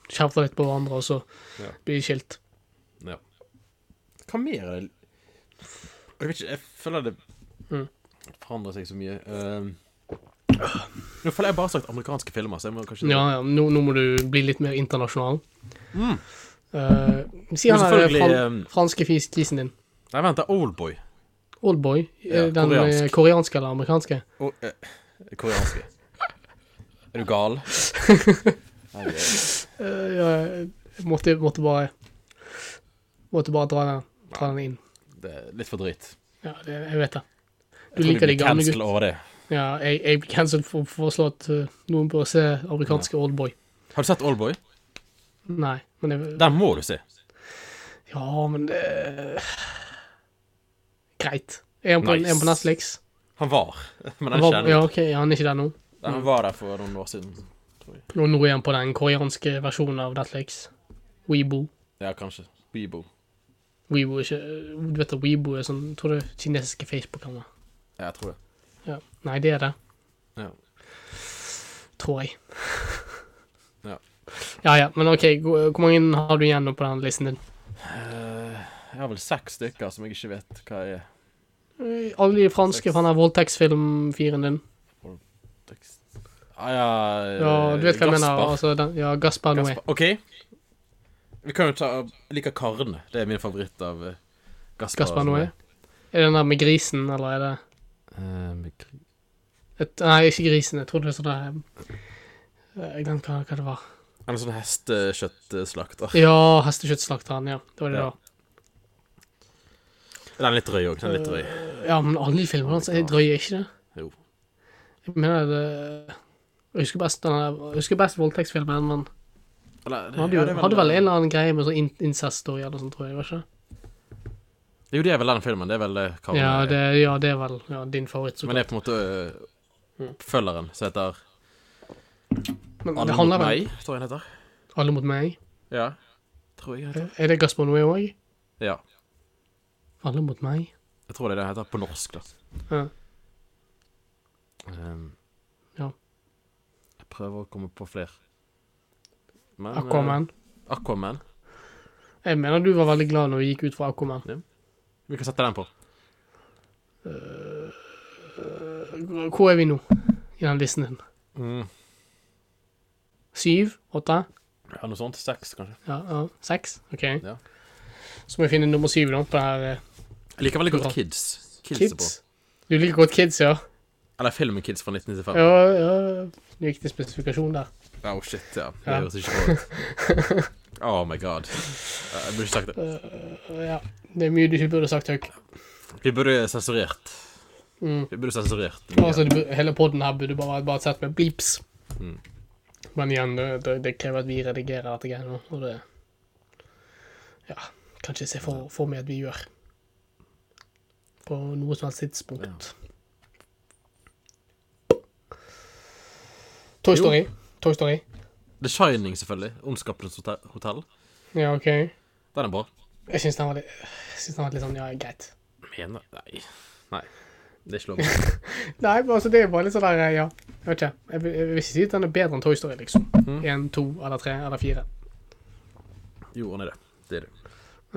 Speaker 1: kjefter litt på hverandre, og så
Speaker 2: Ja.
Speaker 1: blir de skilt.
Speaker 2: Ja. Hva mer er det Jeg vet ikke, jeg føler det
Speaker 1: Mm.
Speaker 2: forandrer seg så mye. Ehm, nå føler jeg bare sagt amerikanske filmer, så jeg må kanskje
Speaker 1: Ja, ja, nå, nå må du bli litt mer internasjonal.
Speaker 2: Mm.
Speaker 1: Eh, si
Speaker 2: Men
Speaker 1: han der
Speaker 2: selvfølgelig,
Speaker 1: fran
Speaker 2: eh,
Speaker 1: franske fis- kisen din.
Speaker 2: Nei, vent, det er Oldboy.
Speaker 1: Oldboy.
Speaker 2: Ja,
Speaker 1: eh, den eh,
Speaker 2: koreansk.
Speaker 1: koreanske eller amerikanske?
Speaker 2: Oh, eh, koreanske. Er
Speaker 1: *laughs*
Speaker 2: du gal? Nei, eh,
Speaker 1: Eh, ja, jeg måtte, måtte bare Måtte bare dra den, dra den inn.
Speaker 2: det er litt for dritt.
Speaker 1: Ja, det, jeg vet det. Du
Speaker 2: Jeg tror
Speaker 1: liker
Speaker 2: blir
Speaker 1: de gamle
Speaker 2: cancelled over det.
Speaker 1: Ja, jeg, jeg blir cancelled for å foreslå at eh, noen bør se amerikanske Oldboy.
Speaker 2: Har du sett Oldboy?
Speaker 1: Nei, men det,
Speaker 2: Den må du se.
Speaker 1: Ja, men det Greit. Er han på,
Speaker 2: Nice.
Speaker 1: er han på Netflix?
Speaker 2: Han var,
Speaker 1: Han
Speaker 2: men han
Speaker 1: var,
Speaker 2: *laughs* kjenner
Speaker 1: ja, ok, er han ikke der nå?
Speaker 2: Nei, Han var der for noen år siden. Tror jeg.
Speaker 1: Og nå er han på den koreanske versjonen av Netflix. Weibo.
Speaker 2: Ja, kanskje. Bebo.
Speaker 1: Weibo er ikke Du vet at Weibo er sånn Tror du det er kinesiske Facebook-kamera?
Speaker 2: Ja, jeg tror det.
Speaker 1: Ja. Nei, det er det.
Speaker 2: Ja.
Speaker 1: Tror jeg.
Speaker 2: Ja.
Speaker 1: Ja ja, men OK. Hvor hvor mange har du igjen nå på den listen din?
Speaker 2: Eh, jeg har vel seks stykker som jeg ikke vet hva er.
Speaker 1: Eh, Alle de franske
Speaker 2: Seks.
Speaker 1: fra den voldtektsfilmfiren din.
Speaker 2: Tekst. Ah, ja, eh,
Speaker 1: Ja, du vet hva jeg mener.
Speaker 2: Gaspar.
Speaker 1: Altså, den, ja, Gaspar Noé.
Speaker 2: Gaspar. OK. Vi kan jo ta Jeg liker Karne. Det er min favoritt av eh, Gaspar.
Speaker 1: Gaspar Noé. Er det den der med grisen, eller er det
Speaker 2: Eh, med kri-
Speaker 1: et, Nei, ikke grisen. Jeg trodde det var sånn der eh, Jeg glemte hva, hva det var.
Speaker 2: En sånn hestekjøttslakter.
Speaker 1: Ja, hestekjøttslakteren. Ja, det var det
Speaker 2: Ja.
Speaker 1: da.
Speaker 2: Den er litt drøy òg. Den er litt drøy.
Speaker 1: Ja, men alle de filmene hans er drøye, ikke det?
Speaker 2: Jo.
Speaker 1: Jeg mener det Jeg husker best, den der- jeg husker best voldtektsfilmen, men
Speaker 2: Eller,
Speaker 1: han hadde, jo,
Speaker 2: ja, det er
Speaker 1: hadde vel en eller annen greie med sånn in incest og eller noe sånt, tror jeg. Var ikke? det?
Speaker 2: Jo, det er vel den filmen. Det er vel eh, Karne.
Speaker 1: Ja, det, ja, det er vel ja, din favoritt. Så men,
Speaker 2: Men det er på en måte eh, oppfølgeren som heter
Speaker 1: men det
Speaker 2: Alle
Speaker 1: handler
Speaker 2: mot
Speaker 1: vel
Speaker 2: meg, tror jeg den heter.
Speaker 1: Alle mot meg?
Speaker 2: Ja. Tror jeg den heter.
Speaker 1: Er det Gaspar Noé òg?
Speaker 2: Ja.
Speaker 1: Alle mot meg?
Speaker 2: Jeg tror det er det den heter på norsk, da.
Speaker 1: Ja.
Speaker 2: Ehm,
Speaker 1: Ja.
Speaker 2: Jeg prøver å komme på flere. Men, eh,
Speaker 1: Aquaman.
Speaker 2: Aquaman.
Speaker 1: Jeg mener du var veldig glad når vi gikk ut fra Aquaman.
Speaker 2: Vi kan sette den på.
Speaker 1: Hvor er vi nå i den listen din? Mm. Syv? Åtte?
Speaker 2: Ja, noe sånt. Seks, kanskje.
Speaker 1: Ja, ja. Seks? OK.
Speaker 2: Ja.
Speaker 1: Så må vi finne nummer syv da, på det her eh,
Speaker 2: Jeg liker veldig godt
Speaker 1: Bra.
Speaker 2: Kids. Kids, er bra.
Speaker 1: Kids. Du liker godt Kids, ja?
Speaker 2: Eller filmen Kids fra 1995.
Speaker 1: Ja, ja. Viktig spesifikasjon der.
Speaker 2: Oh, shit, ja. Det
Speaker 1: Ja.
Speaker 2: høres ikke bra ut.
Speaker 1: *laughs*
Speaker 2: Oh my god. Eh, Jeg burde ikke sagt det.
Speaker 1: Ja. Det er mye du ikke burde sagt høyt.
Speaker 2: Vi burde sensurert.
Speaker 1: Mm.
Speaker 2: Vi burde sensurert.
Speaker 1: Bare så du bu- hele podden her burde bare vært bare et sett med bleeps.
Speaker 2: Mm.
Speaker 1: Men igjen, det, det, det krever at vi redigerer dette greiet nå, og det Ja, kan ikke se for, for meg at vi gjør. På noe som helst tidspunkt. Toy
Speaker 2: Jo.
Speaker 1: Story. Toy Story.
Speaker 2: The Shining, selvfølgelig. Ondskapens hotell- hotell.
Speaker 1: Ja, OK. Jeg
Speaker 2: Den er bra.
Speaker 1: syns den var litt, jeg synes den var litt sånn Ja, greit.
Speaker 2: Mener Nei. Nei.
Speaker 1: *laughs*
Speaker 2: Det er ikke lov.
Speaker 1: Nei, men altså, det er bare litt sånn der, ja. Jeg vet ikke. Jeg vil, jeg vil ikke si at den er bedre enn Toy Story, liksom.
Speaker 2: Mm.
Speaker 1: Én, to eller tre eller fire.
Speaker 2: Jo, han er det. Det er det.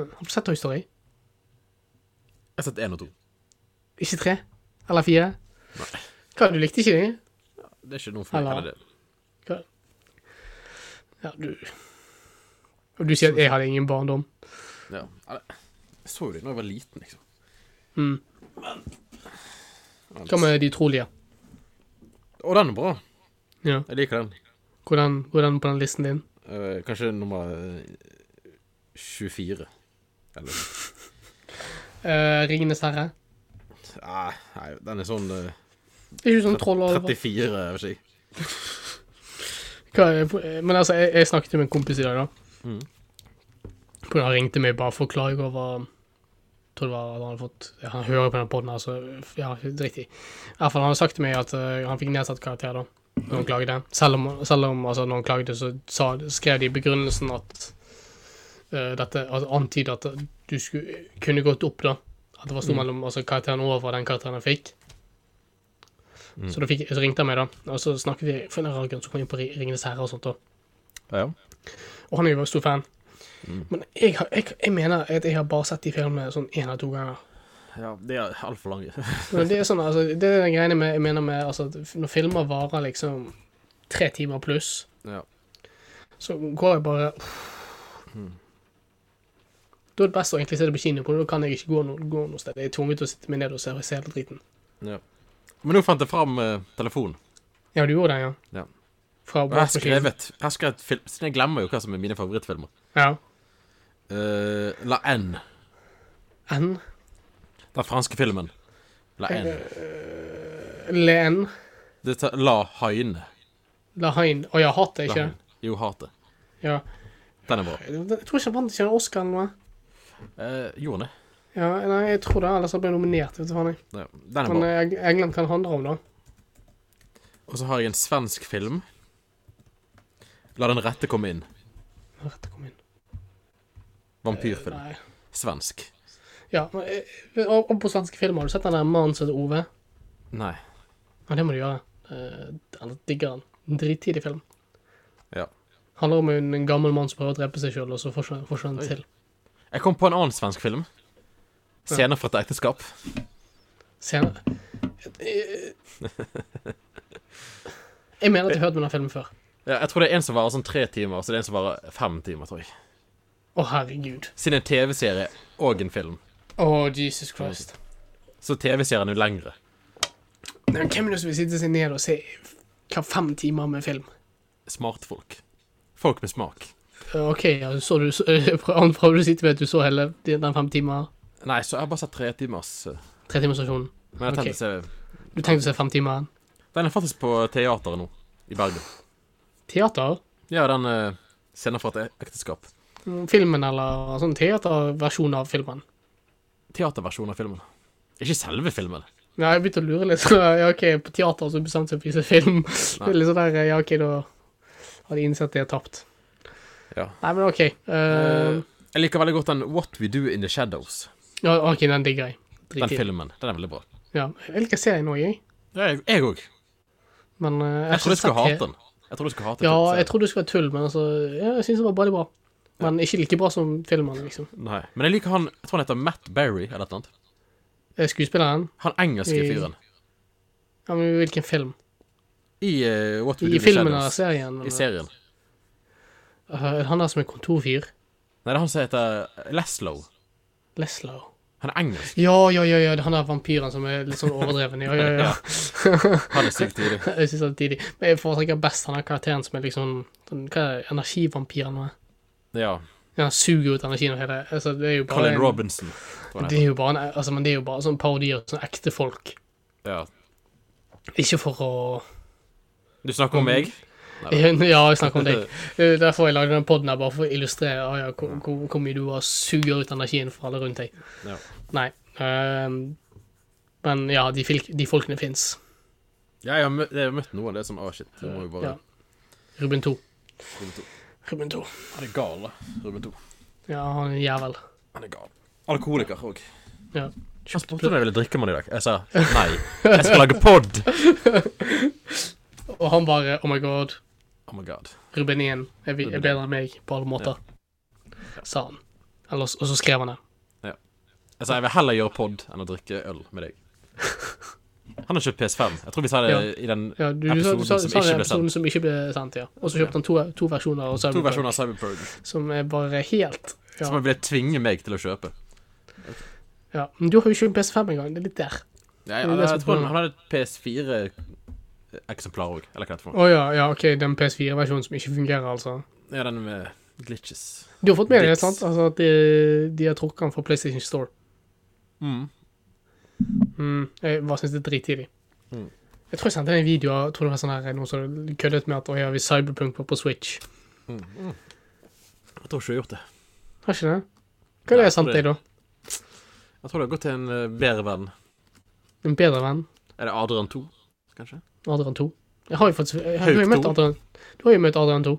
Speaker 1: Har du sett Toy Story?
Speaker 2: Jeg har sett én og to.
Speaker 1: Ikke tre? Eller fire? Hva, du likte ikke de?
Speaker 2: Det er ikke noe for meg.
Speaker 1: Eller-
Speaker 2: Eller det.
Speaker 1: Hva? Ja, du Og du sier at jeg hadde ingen barndom.
Speaker 2: Ja. Eller, jeg så jo det da jeg var liten, liksom.
Speaker 1: Mm.
Speaker 2: Men
Speaker 1: Hva med De utrolige?
Speaker 2: Å, den er bra.
Speaker 1: Ja.
Speaker 2: Jeg liker den.
Speaker 1: Hvordan går den på den listen din?
Speaker 2: Eh, kanskje nummer eh, 24. Eller
Speaker 1: Uh, Ringenes herre?
Speaker 2: Nei, Ah, nei, den er sånn eh,
Speaker 1: Det er ikke sånn troll og
Speaker 2: 34, jeg vet ikke.
Speaker 1: Hva er- Men altså, jeg, jeg snakket jo med en kompis i dag, da.
Speaker 2: Mhm.
Speaker 1: For han ringte meg bare for å klage over jeg tror det var at han hadde fått ja, Han hører på den podden her, så ja, drit i. I hvert fall han hadde sagt til meg at eh, han fikk nedsatt karakter da, når han klagde. Selv om, selv om altså, når han klagde, så sa, skrev de i begrunnelsen at eh, dette altså, antydet at du skulle, kunne gått opp, da. At det var stod mellom altså, karakteren over og den karakteren han fikk. Så da fikk, så ringte han meg, da, og så snakket vi for en rar grunn, så kom vi inn på Ri- Ringenes herre og sånt. da.
Speaker 2: Ja,
Speaker 1: Og han er jo stor fan.
Speaker 2: Mm.
Speaker 1: Men jeg, har, jeg, jeg mener at jeg har bare sett de filmene sånn én eller to ganger.
Speaker 2: ja det er altfor *laughs* lange.
Speaker 1: Men det er sånn, altså, det er den greiene med, jeg mener med altså, at Når filmer varer liksom tre timer pluss,
Speaker 2: ja.
Speaker 1: så går jeg bare
Speaker 2: Mm.
Speaker 1: Da er det best å egentlig se det på kino, for da kan jeg ikke gå, no, gå noe sted. Jeg er tvunget til å sitte meg ned og se, se hele driten.
Speaker 2: ja. Men nå fant jeg fram eh, telefonen.
Speaker 1: Ja, du gjorde det, ja?
Speaker 2: Ja.
Speaker 1: Fra
Speaker 2: Og jeg har
Speaker 1: bakmaskinen.
Speaker 2: skrevet, jeg har skrevet film, Siden jeg glemmer jo hva som er mine favorittfilmer.
Speaker 1: Ja.
Speaker 2: Eh, La N.
Speaker 1: N.
Speaker 2: Den franske filmen. La N.
Speaker 1: Len.
Speaker 2: Det heter La Haine.
Speaker 1: Lahain. Å ja, hat det
Speaker 2: La
Speaker 1: ikke?
Speaker 2: Haine. Jo, hatet.
Speaker 1: Ja.
Speaker 2: Den er bra.
Speaker 1: Jeg tror ikke han vant ikke en Oscar eller noe.
Speaker 2: Eh, gjorde den det?
Speaker 1: Ja, nei, jeg tror det. Ellers hadde jeg blitt nominert. vet du faen jeg.
Speaker 2: Ja, Den er
Speaker 1: Men
Speaker 2: bra.
Speaker 1: eh, jeg, jeg glemte hva den handler om, da.
Speaker 2: Og så har jeg en svensk film. La den rette komme inn.
Speaker 1: Rett å komme inn.
Speaker 2: Vampyrfilm.
Speaker 1: Nei.
Speaker 2: Svensk.
Speaker 1: Ja, men, eh, og, og på svenske filmer, har du sett den der mannen som heter Ove?
Speaker 2: Nei.
Speaker 1: Ja, det må du gjøre. Eh, Eller digger han. En drittidig film.
Speaker 2: Ja.
Speaker 1: Handler om en, en gammel mann som prøver å drepe seg sjøl, og så får han- får han
Speaker 2: Oi.
Speaker 1: det til.
Speaker 2: Jeg kom på en annen svensk film. Scener fra et ekteskap.
Speaker 1: Senere. Eh, Jeg mener at jeg har hørt om den filmen før.
Speaker 2: Ja, jeg tror det er en som varer sånn tre timer, så det er en som varer fem timer, tror jeg.
Speaker 1: Å, herregud.
Speaker 2: Siden det er en TV-serie og en film.
Speaker 1: Å, Jesus Christ.
Speaker 2: Så TV-serien er jo lengre.
Speaker 1: Nei, men hvem er det som vil sitte seg ned og se hva fem timer med film?
Speaker 2: Smartfolk. Folk med smak.
Speaker 1: Eh, OK, ja, så du så, *laughs* Han prøvde å sitte med at du så hele de- den fem timer
Speaker 2: Nei, så jeg har bare sett tre timers eh,
Speaker 1: tretimersstasjonen.
Speaker 2: Men jeg
Speaker 1: Ok.
Speaker 2: tenkte å se
Speaker 1: Du tenkte å se fem timer?
Speaker 2: Den er faktisk på teateret nå, i Bergen.
Speaker 1: Teater?
Speaker 2: Ja, den uh, Scener fra et ekteskap.
Speaker 1: Mm, Filmen eller sånn teaterversjon av filmen?
Speaker 2: Teaterversjon av filmen. Ikke selve filmen.
Speaker 1: Ja, jeg begynte å lure litt. *laughs* Så, ja, ok, På teater så bestemte jeg meg for å vise film. *laughs* Det er litt sånn der, ja, ok, Da har de innsett at de har tapt.
Speaker 2: Ja.
Speaker 1: Nei, men OK. eh,
Speaker 2: Eh, jeg liker veldig godt den What We Do In The Shadows.
Speaker 1: ja, ok, Den digger jeg.
Speaker 2: Den
Speaker 1: Drit i.
Speaker 2: filmen. Den er veldig bra.
Speaker 1: Ja. Jeg liker serien òg, jeg.
Speaker 2: Ja, jeg òg.
Speaker 1: Men eh,
Speaker 2: Jeg trodde jeg skulle hate
Speaker 1: den.
Speaker 2: den. Jeg trodde jeg skulle hate
Speaker 1: Ja,
Speaker 2: filmen, så-
Speaker 1: jeg trodde det skulle være tull, men altså, ja, jeg syns den var veldig bra. Men ikke like bra som filmen, liksom.
Speaker 2: Nei. Men jeg liker han Jeg tror han heter Matt Berry eller noe annet.
Speaker 1: Eh, Skuespilleren?
Speaker 2: Han engelske
Speaker 1: I-
Speaker 2: fyren.
Speaker 1: Ja, men Hvilken film?
Speaker 2: I eh, What
Speaker 1: I
Speaker 2: We Do In The
Speaker 1: filmen altså. eller
Speaker 2: Shadows.
Speaker 1: serien?
Speaker 2: I serien.
Speaker 1: Eh, han der som er kontorfyr?
Speaker 2: Nei, det er han som heter Leslow.
Speaker 1: Leslow.
Speaker 2: Han er engelsk.
Speaker 1: Ja, ja, ja, ja, det er han der vampyren som er litt sånn overdreven. Ja, ja,
Speaker 2: *laughs*
Speaker 1: *laughs* ja.
Speaker 2: Han er sykt tidlig.
Speaker 1: Jeg synes alltid de- Men jeg foretrekker best han der karakteren som er liksom sånn, Hva er det, energivampyr eller noe?
Speaker 2: Ja.
Speaker 1: Ja, Han suger ut energien og hele altså, Det er jo bare
Speaker 2: Colin
Speaker 1: en-
Speaker 2: Robinson. tror jeg han
Speaker 1: Det er jo bare, en- altså, men det er jo bare sånn parodier sånn ekte folk.
Speaker 2: heter. Ja.
Speaker 1: Ikke for å
Speaker 2: Du snakker om meg?
Speaker 1: *laughs* Ja, jeg snakker om
Speaker 2: *laughs*
Speaker 1: deg. Det er Derfor jeg lagde den podden her, bare for å illustrere ja, ja, hvor, hvor, hvor mye du bare suger ut energien fra alle rundt deg.
Speaker 2: Ja.
Speaker 1: Nei. ehm, men ja, de, fil- de folkene fins.
Speaker 2: Ja, jeg har møtt, jeg har møtt noen. Det er sånn ah, shit. Det må jo bare
Speaker 1: Ja. Ruben 2.
Speaker 2: Ruben 2.
Speaker 1: Ruben 2.
Speaker 2: Han er gal, da. Ruben 2.
Speaker 1: Ja, han er en jævel.
Speaker 2: Han er gal. Alkoholiker òg.
Speaker 1: Ja.
Speaker 2: Han spurte om jeg ville drikke med han i dag. Jeg sa nei. Jeg skal lage pod!
Speaker 1: Og han bare Oh my god,
Speaker 2: Oh my god.
Speaker 1: Ruben 1 er, vi- er bedre enn meg på alle måter, sa han. Eller, s- og så skrev han det.
Speaker 2: Jeg sa jeg vil heller gjøre pod enn å drikke øl med deg. Han har kjøpt PS5. Jeg tror vi sa det
Speaker 1: Ja.
Speaker 2: i den
Speaker 1: Ja, du, du, sa- du sa, sa
Speaker 2: Episoden som ikke
Speaker 1: den
Speaker 2: ble
Speaker 1: episoden som ikke ble sendt, ja. Og så kjøpte han to, to versjoner av
Speaker 2: to
Speaker 1: Cyberpunk,
Speaker 2: versjonen av Cyberpunk
Speaker 1: som er bare helt
Speaker 2: som
Speaker 1: ja.
Speaker 2: han ville tvinge meg til å kjøpe.
Speaker 1: ja. Men du har jo ikke en PS5 engang, det er litt der.
Speaker 2: Ja,
Speaker 1: Det er
Speaker 2: ja,
Speaker 1: det
Speaker 2: jeg
Speaker 1: som
Speaker 2: tror
Speaker 1: er
Speaker 2: han, han hadde et PS4-eksemplar òg. Eller hva det er.
Speaker 1: Å ja, ja, OK, den PS4-versjonen som ikke fungerer, altså.
Speaker 2: Ja, den med glitches.
Speaker 1: Du har fått med deg det,
Speaker 2: Dicks.
Speaker 1: sant? Altså at de, de har trukket den fra PlayStation Store.
Speaker 2: Mm.
Speaker 1: Mm, jeg bare synes det er drittidig.
Speaker 2: Mm.
Speaker 1: Jeg tror jeg sendte deg en video jeg tror det var sånn her, noen som køddet med at å ja, vi Cyberpunk var på Switch.
Speaker 2: Jeg tror ikke du har gjort det.
Speaker 1: Har ikke det? Hva er det
Speaker 2: Nei,
Speaker 1: jeg sendte
Speaker 2: det-
Speaker 1: deg, da?
Speaker 2: Jeg tror du har gått til en eh, bedre venn.
Speaker 1: En bedre venn?
Speaker 2: Er det Adrian 2, kanskje?
Speaker 1: Adrian 2? Jeg har jo faktisk jeg, Du har jo
Speaker 2: Hauk
Speaker 1: møtt
Speaker 2: to.
Speaker 1: Adrian Du har jo møtt Adrian 2.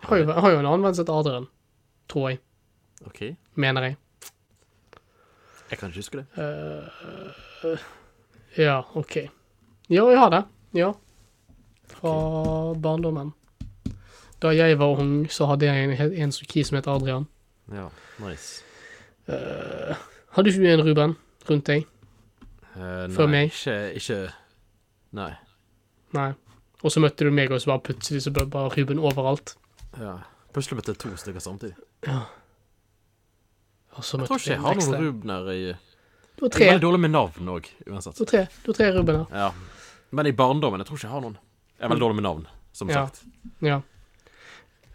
Speaker 1: Jeg har jo, jeg har jo en annen venn som heter Adrian. Tror jeg.
Speaker 2: OK. Jeg
Speaker 1: Mener jeg.
Speaker 2: kan ikke huske det.
Speaker 1: Eh, Ja, OK. Ja, jeg har det. Ja. Fra barndommen. Da jeg var ung, så hadde jeg en, en suki som het Adrian.
Speaker 2: Ja, nice.
Speaker 1: Eh, Hadde ikke du en, Ruben, rundt deg?
Speaker 2: Eh,
Speaker 1: For
Speaker 2: nei,
Speaker 1: meg?
Speaker 2: Ikke, ikke Nei.
Speaker 1: Nei. Og så møtte du meg, og så bare plutselig så ble bare Ruben overalt.
Speaker 2: Ja. Plutselig ble det to stykker samtidig.
Speaker 1: Og så
Speaker 2: Jeg
Speaker 1: møtte
Speaker 2: tror ikke jeg har noen Rubner i Jeg
Speaker 1: Du har
Speaker 2: er
Speaker 1: tre.
Speaker 2: veldig dårlig med navn òg, uansett.
Speaker 1: Du har tre, du har tre Rubener.
Speaker 2: Ja. Men i barndommen Jeg tror ikke jeg har noen. Jeg er veldig dårlig med navn, som
Speaker 1: Mm. Ja.
Speaker 2: sagt.
Speaker 1: Ja.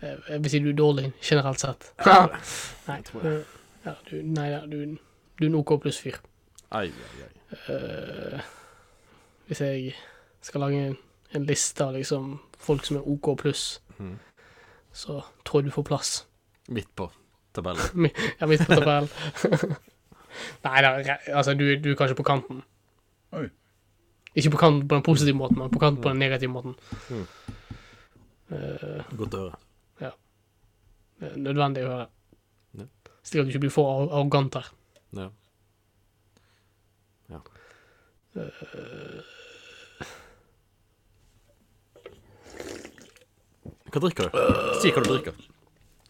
Speaker 1: Eh, Jeg vil si du er dårlig generelt sett. *laughs* Nei,
Speaker 2: jeg tror
Speaker 1: du, ja, du, nei ja, du, du er en OK pluss fyr.
Speaker 2: Ai, ai, ai.
Speaker 1: Eh, hvis jeg skal lage en, en liste av liksom folk som er OK pluss,
Speaker 2: Mhm.
Speaker 1: så tror jeg du får plass.
Speaker 2: Midt på tabellen.
Speaker 1: Ja, midt på tabellen. *laughs* Nei da, re- altså, du, du er kanskje på kanten.
Speaker 2: Oi.
Speaker 1: Ikke på kant på den positive måten, men på kant på den negative måten.
Speaker 2: Mm.
Speaker 1: Eh,
Speaker 2: Godt å høre.
Speaker 1: det er nødvendig å høre.
Speaker 2: Ja.
Speaker 1: Slik at du ikke blir for arro- arrogant her.
Speaker 2: Ja. Hva drikker du? Si hva du drikker.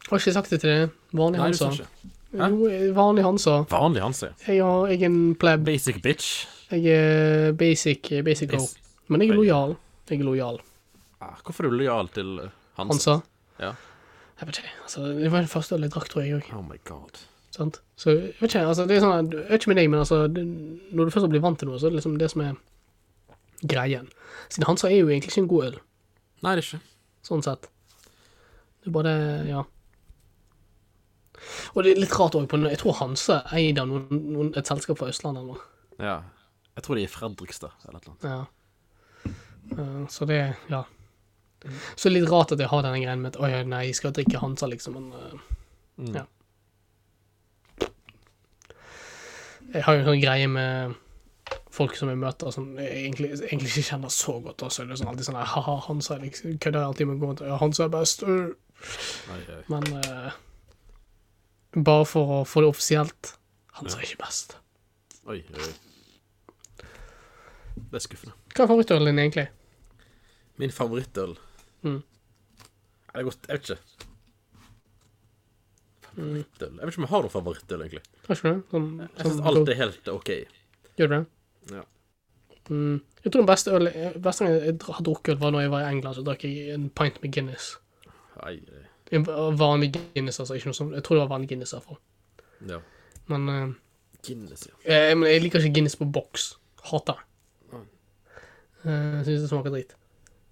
Speaker 1: Har ikke sagt det til deg. Vanlig
Speaker 2: Nei, du
Speaker 1: Hansa.
Speaker 2: sa ikke. Hæ?
Speaker 1: Jo, eh, vanlig Hansa.
Speaker 2: Vanlig Hansa. ja.
Speaker 1: Jeg, har, jeg er en pleb.
Speaker 2: Basic bitch.
Speaker 1: Jeg er basic, eh, basic girl.
Speaker 2: Bas-
Speaker 1: Men jeg er
Speaker 2: Oi.
Speaker 1: lojal. Jeg er lojal.
Speaker 2: Ah, hvorfor er du lojal til eh, Hansa?
Speaker 1: Hansa.
Speaker 2: Ja.
Speaker 1: Jeg vet ikke. Altså, det var den første øl jeg drakk, tror jeg òg.
Speaker 2: Oh my god.
Speaker 1: Sant? Så jeg vet ikke, altså, det er sånn, at- jeg vet ikke med deg, men altså, det, når du først blir vant til noe, så er det liksom det som er greien. Siden Hansa er jo egentlig ikke en god øl,
Speaker 2: Nei, det er ikke.
Speaker 1: sånn sett. Det er bare Ja. Og det er litt rart òg, jeg tror Hansa eier av noen, noen, et selskap fra Østlandet eller noe.
Speaker 2: Ja. Jeg tror de er i Fredrikstad eller et eller annet.
Speaker 1: Ja. Eh, Så det Ja. Så litt rart at jeg har denne greien med at oi, nei, jeg skal drikke Hansa, liksom, men eh,
Speaker 2: Mm.
Speaker 1: Ja. Jeg har jo en sånn greie med folk som jeg møter, som jeg egentlig, egentlig ikke kjenner så godt. Også. Det er sånn, alltid sånn her, haha, Hansa er liksom, kødder jeg alltid med å gå rundt, ja, Hansa er best. øh.
Speaker 2: Oi, oi.
Speaker 1: Men eh, bare for å få det offisielt, Hansa er ikke best.
Speaker 2: Oi, oi. Det er skuffende.
Speaker 1: Hva er favorittølen din egentlig?
Speaker 2: Min favorittøl
Speaker 1: Mm.
Speaker 2: Er det godt? Jeg vet ikke. Favorittøl? Jeg vet ikke om jeg har noen favorittøl, egentlig.
Speaker 1: Mm, Har ikke du det? Sånn,
Speaker 2: Jeg syns
Speaker 1: sånn-
Speaker 2: alt er helt OK.
Speaker 1: Gjør du det?
Speaker 2: Ja.
Speaker 1: Mm. Jeg tror den beste øl Beste gang jeg dra- har drukket øl, var når jeg var i England. Så drakk jeg en pint med Guinness.
Speaker 2: Ai, ai.
Speaker 1: En va- vanlig Guinness, altså. Ikke noe sånt. Jeg tror det var vanlig Guinness, i hvert fall.
Speaker 2: Ja.
Speaker 1: Men, eh,
Speaker 2: Guinness, ja.
Speaker 1: jeg, men jeg liker ikke Guinness på boks. Hater det. Jeg syns det smaker dritt.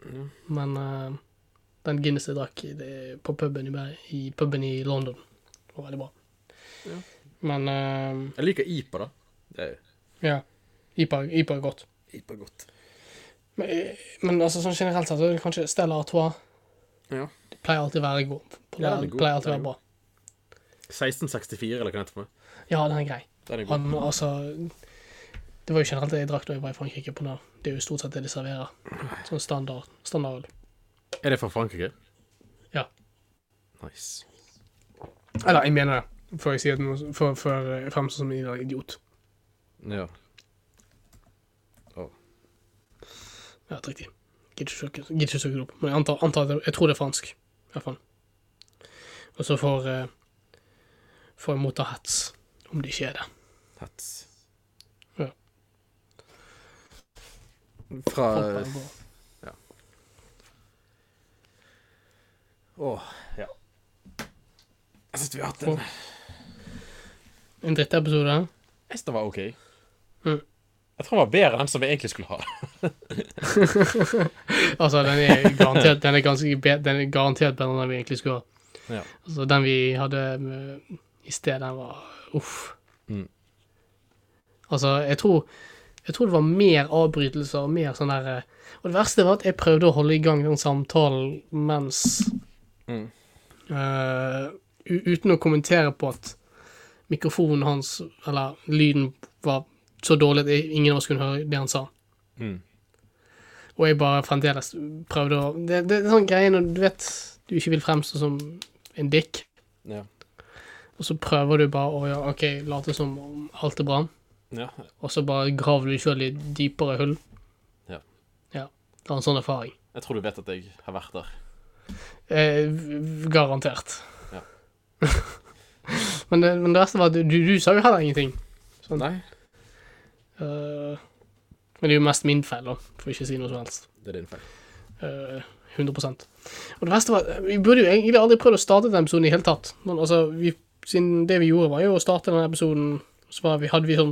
Speaker 2: Mm.
Speaker 1: Men eh, den Guinness jeg drakk i- det, på puben i, Ber- i puben i London, det var veldig bra. Men eh,
Speaker 2: Jeg liker IPA, da. Det er
Speaker 1: ja. IPA, IPA er godt.
Speaker 2: IPA godt.
Speaker 1: Men, eh, men altså, sånn generelt sett så er det kanskje Stella Artois
Speaker 2: Ja.
Speaker 1: pleier alltid å være god.
Speaker 2: Ja,
Speaker 1: Pleier,
Speaker 2: den er god.
Speaker 1: pleier alltid å
Speaker 2: Den
Speaker 1: være
Speaker 2: er
Speaker 1: bra.
Speaker 2: 1664, eller hva det heter for noe.
Speaker 1: Ja, den er grei.
Speaker 2: Den er god.
Speaker 1: Han, altså Det var jo generelt det jeg drakk da jeg var i Frankrike. på Nav. Det er jo stort sett det de serverer. Sånn standard standardøl.
Speaker 2: Er det fra Frankrike?
Speaker 1: Ja.
Speaker 2: Nice.
Speaker 1: Eller, jeg mener det. Før jeg sier at noe Før før jeg fremstår som en eller annen idiot.
Speaker 2: Ja.
Speaker 1: Ja, helt riktig. Gidder ikke søke- gidder ikke søke det opp. Men jeg antar, antar at det- jeg tror det er fransk. I hvert fall. Og så får eh, Får jeg motta hets om det ikke er det.
Speaker 2: Hats.
Speaker 1: Ja.
Speaker 2: Fra eh,
Speaker 1: Folk bare går.
Speaker 2: Åh, ja. Jeg syns vi har hatt en
Speaker 1: En drittepisode.
Speaker 2: Jeg syns den var OK.
Speaker 1: Mm.
Speaker 2: Jeg tror den var bedre enn den som vi egentlig skulle ha.
Speaker 1: Altså, den er garantert, den er ganske be den er garantert bedre enn den vi egentlig skulle ha.
Speaker 2: Ja.
Speaker 1: Altså, den vi hadde med, i sted, den var uff.
Speaker 2: Mm.
Speaker 1: Altså, jeg tror, jeg tror det var mer avbrytelser, mer sånn der eh, Og det verste var at jeg prøvde å holde i gang den samtalen mens
Speaker 2: Mm.
Speaker 1: eh, u- Uten å kommentere på at mikrofonen hans, eller lyden, var så dårlig at jeg- ingen av oss kunne høre det han sa.
Speaker 2: Mm.
Speaker 1: Og jeg bare fremdeles prøvde å Det, det er sånn greie når du vet du ikke vil fremstå som en dick,
Speaker 2: Ja.
Speaker 1: og så prøver du bare å ja, OK, late som om alt er bra,
Speaker 2: ja.
Speaker 1: og så bare graver du deg sjøl i et dypere hull.
Speaker 2: Ja.
Speaker 1: ja. Det er en sånn erfaring.
Speaker 2: Jeg tror du vet at jeg har vært der.
Speaker 1: Eh, v- garantert.
Speaker 2: Ja.
Speaker 1: *laughs* men, det, men det verste var at du, du sa jo heller ingenting. Sånn.
Speaker 2: Nei.
Speaker 1: Eh, men det er jo mest min feil, da, for ikke å si noe som helst.
Speaker 2: Det er din feil.
Speaker 1: Eh, 100 Og det verste var at Vi burde jo egentlig aldri prøvd å starte den episoden i hele tatt. Men altså, vi, siden det vi gjorde, var jo å starte den episoden Så var vi, hadde vi sånn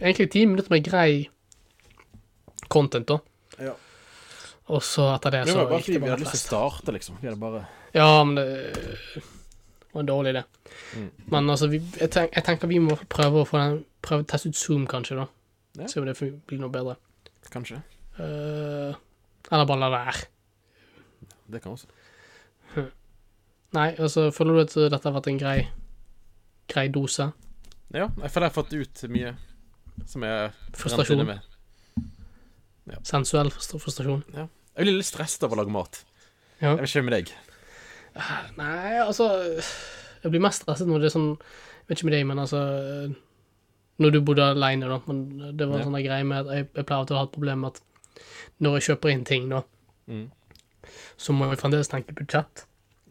Speaker 1: Egentlig ti minutter med grei content, da.
Speaker 2: Ja.
Speaker 1: Og så etter det,
Speaker 2: Men det
Speaker 1: så
Speaker 2: var bare
Speaker 1: gikk
Speaker 2: fordi
Speaker 1: det
Speaker 2: vi
Speaker 1: bare
Speaker 2: hadde lyst til å
Speaker 1: flest.
Speaker 2: starte, liksom. Vi hadde bare
Speaker 1: Ja, men det var en dårlig idé.
Speaker 2: Mm.
Speaker 1: Men altså, vi, jeg, tenk, jeg tenker vi må prøve å få den Prøve å teste ut Zoom, kanskje, da.
Speaker 2: Ja.
Speaker 1: Se om det blir noe bedre.
Speaker 2: Kanskje.
Speaker 1: Eh, eller bare la være.
Speaker 2: Det kan også.
Speaker 1: Nei, altså, føler du at dette har vært en grei, grei dose?
Speaker 2: Ja, jeg føler jeg har fått ut mye som jeg rant inne
Speaker 1: Frustrasjon?
Speaker 2: med. Ja.
Speaker 1: Sensuell frustra- frustrasjon.
Speaker 2: Jeg blir litt stresset av å lage mat.
Speaker 1: Ja.
Speaker 2: Jeg vet ikke med deg.
Speaker 1: Nei, altså Jeg blir mest stresset når det er sånn Jeg vet ikke med deg, men altså Når du bodde alene, da. Men det var
Speaker 2: Ja.
Speaker 1: en sånn der greie med at jeg, jeg pleier alltid å ha et problem med at når jeg kjøper inn ting, da,
Speaker 2: Mm.
Speaker 1: så må jeg fremdeles tenke budsjett.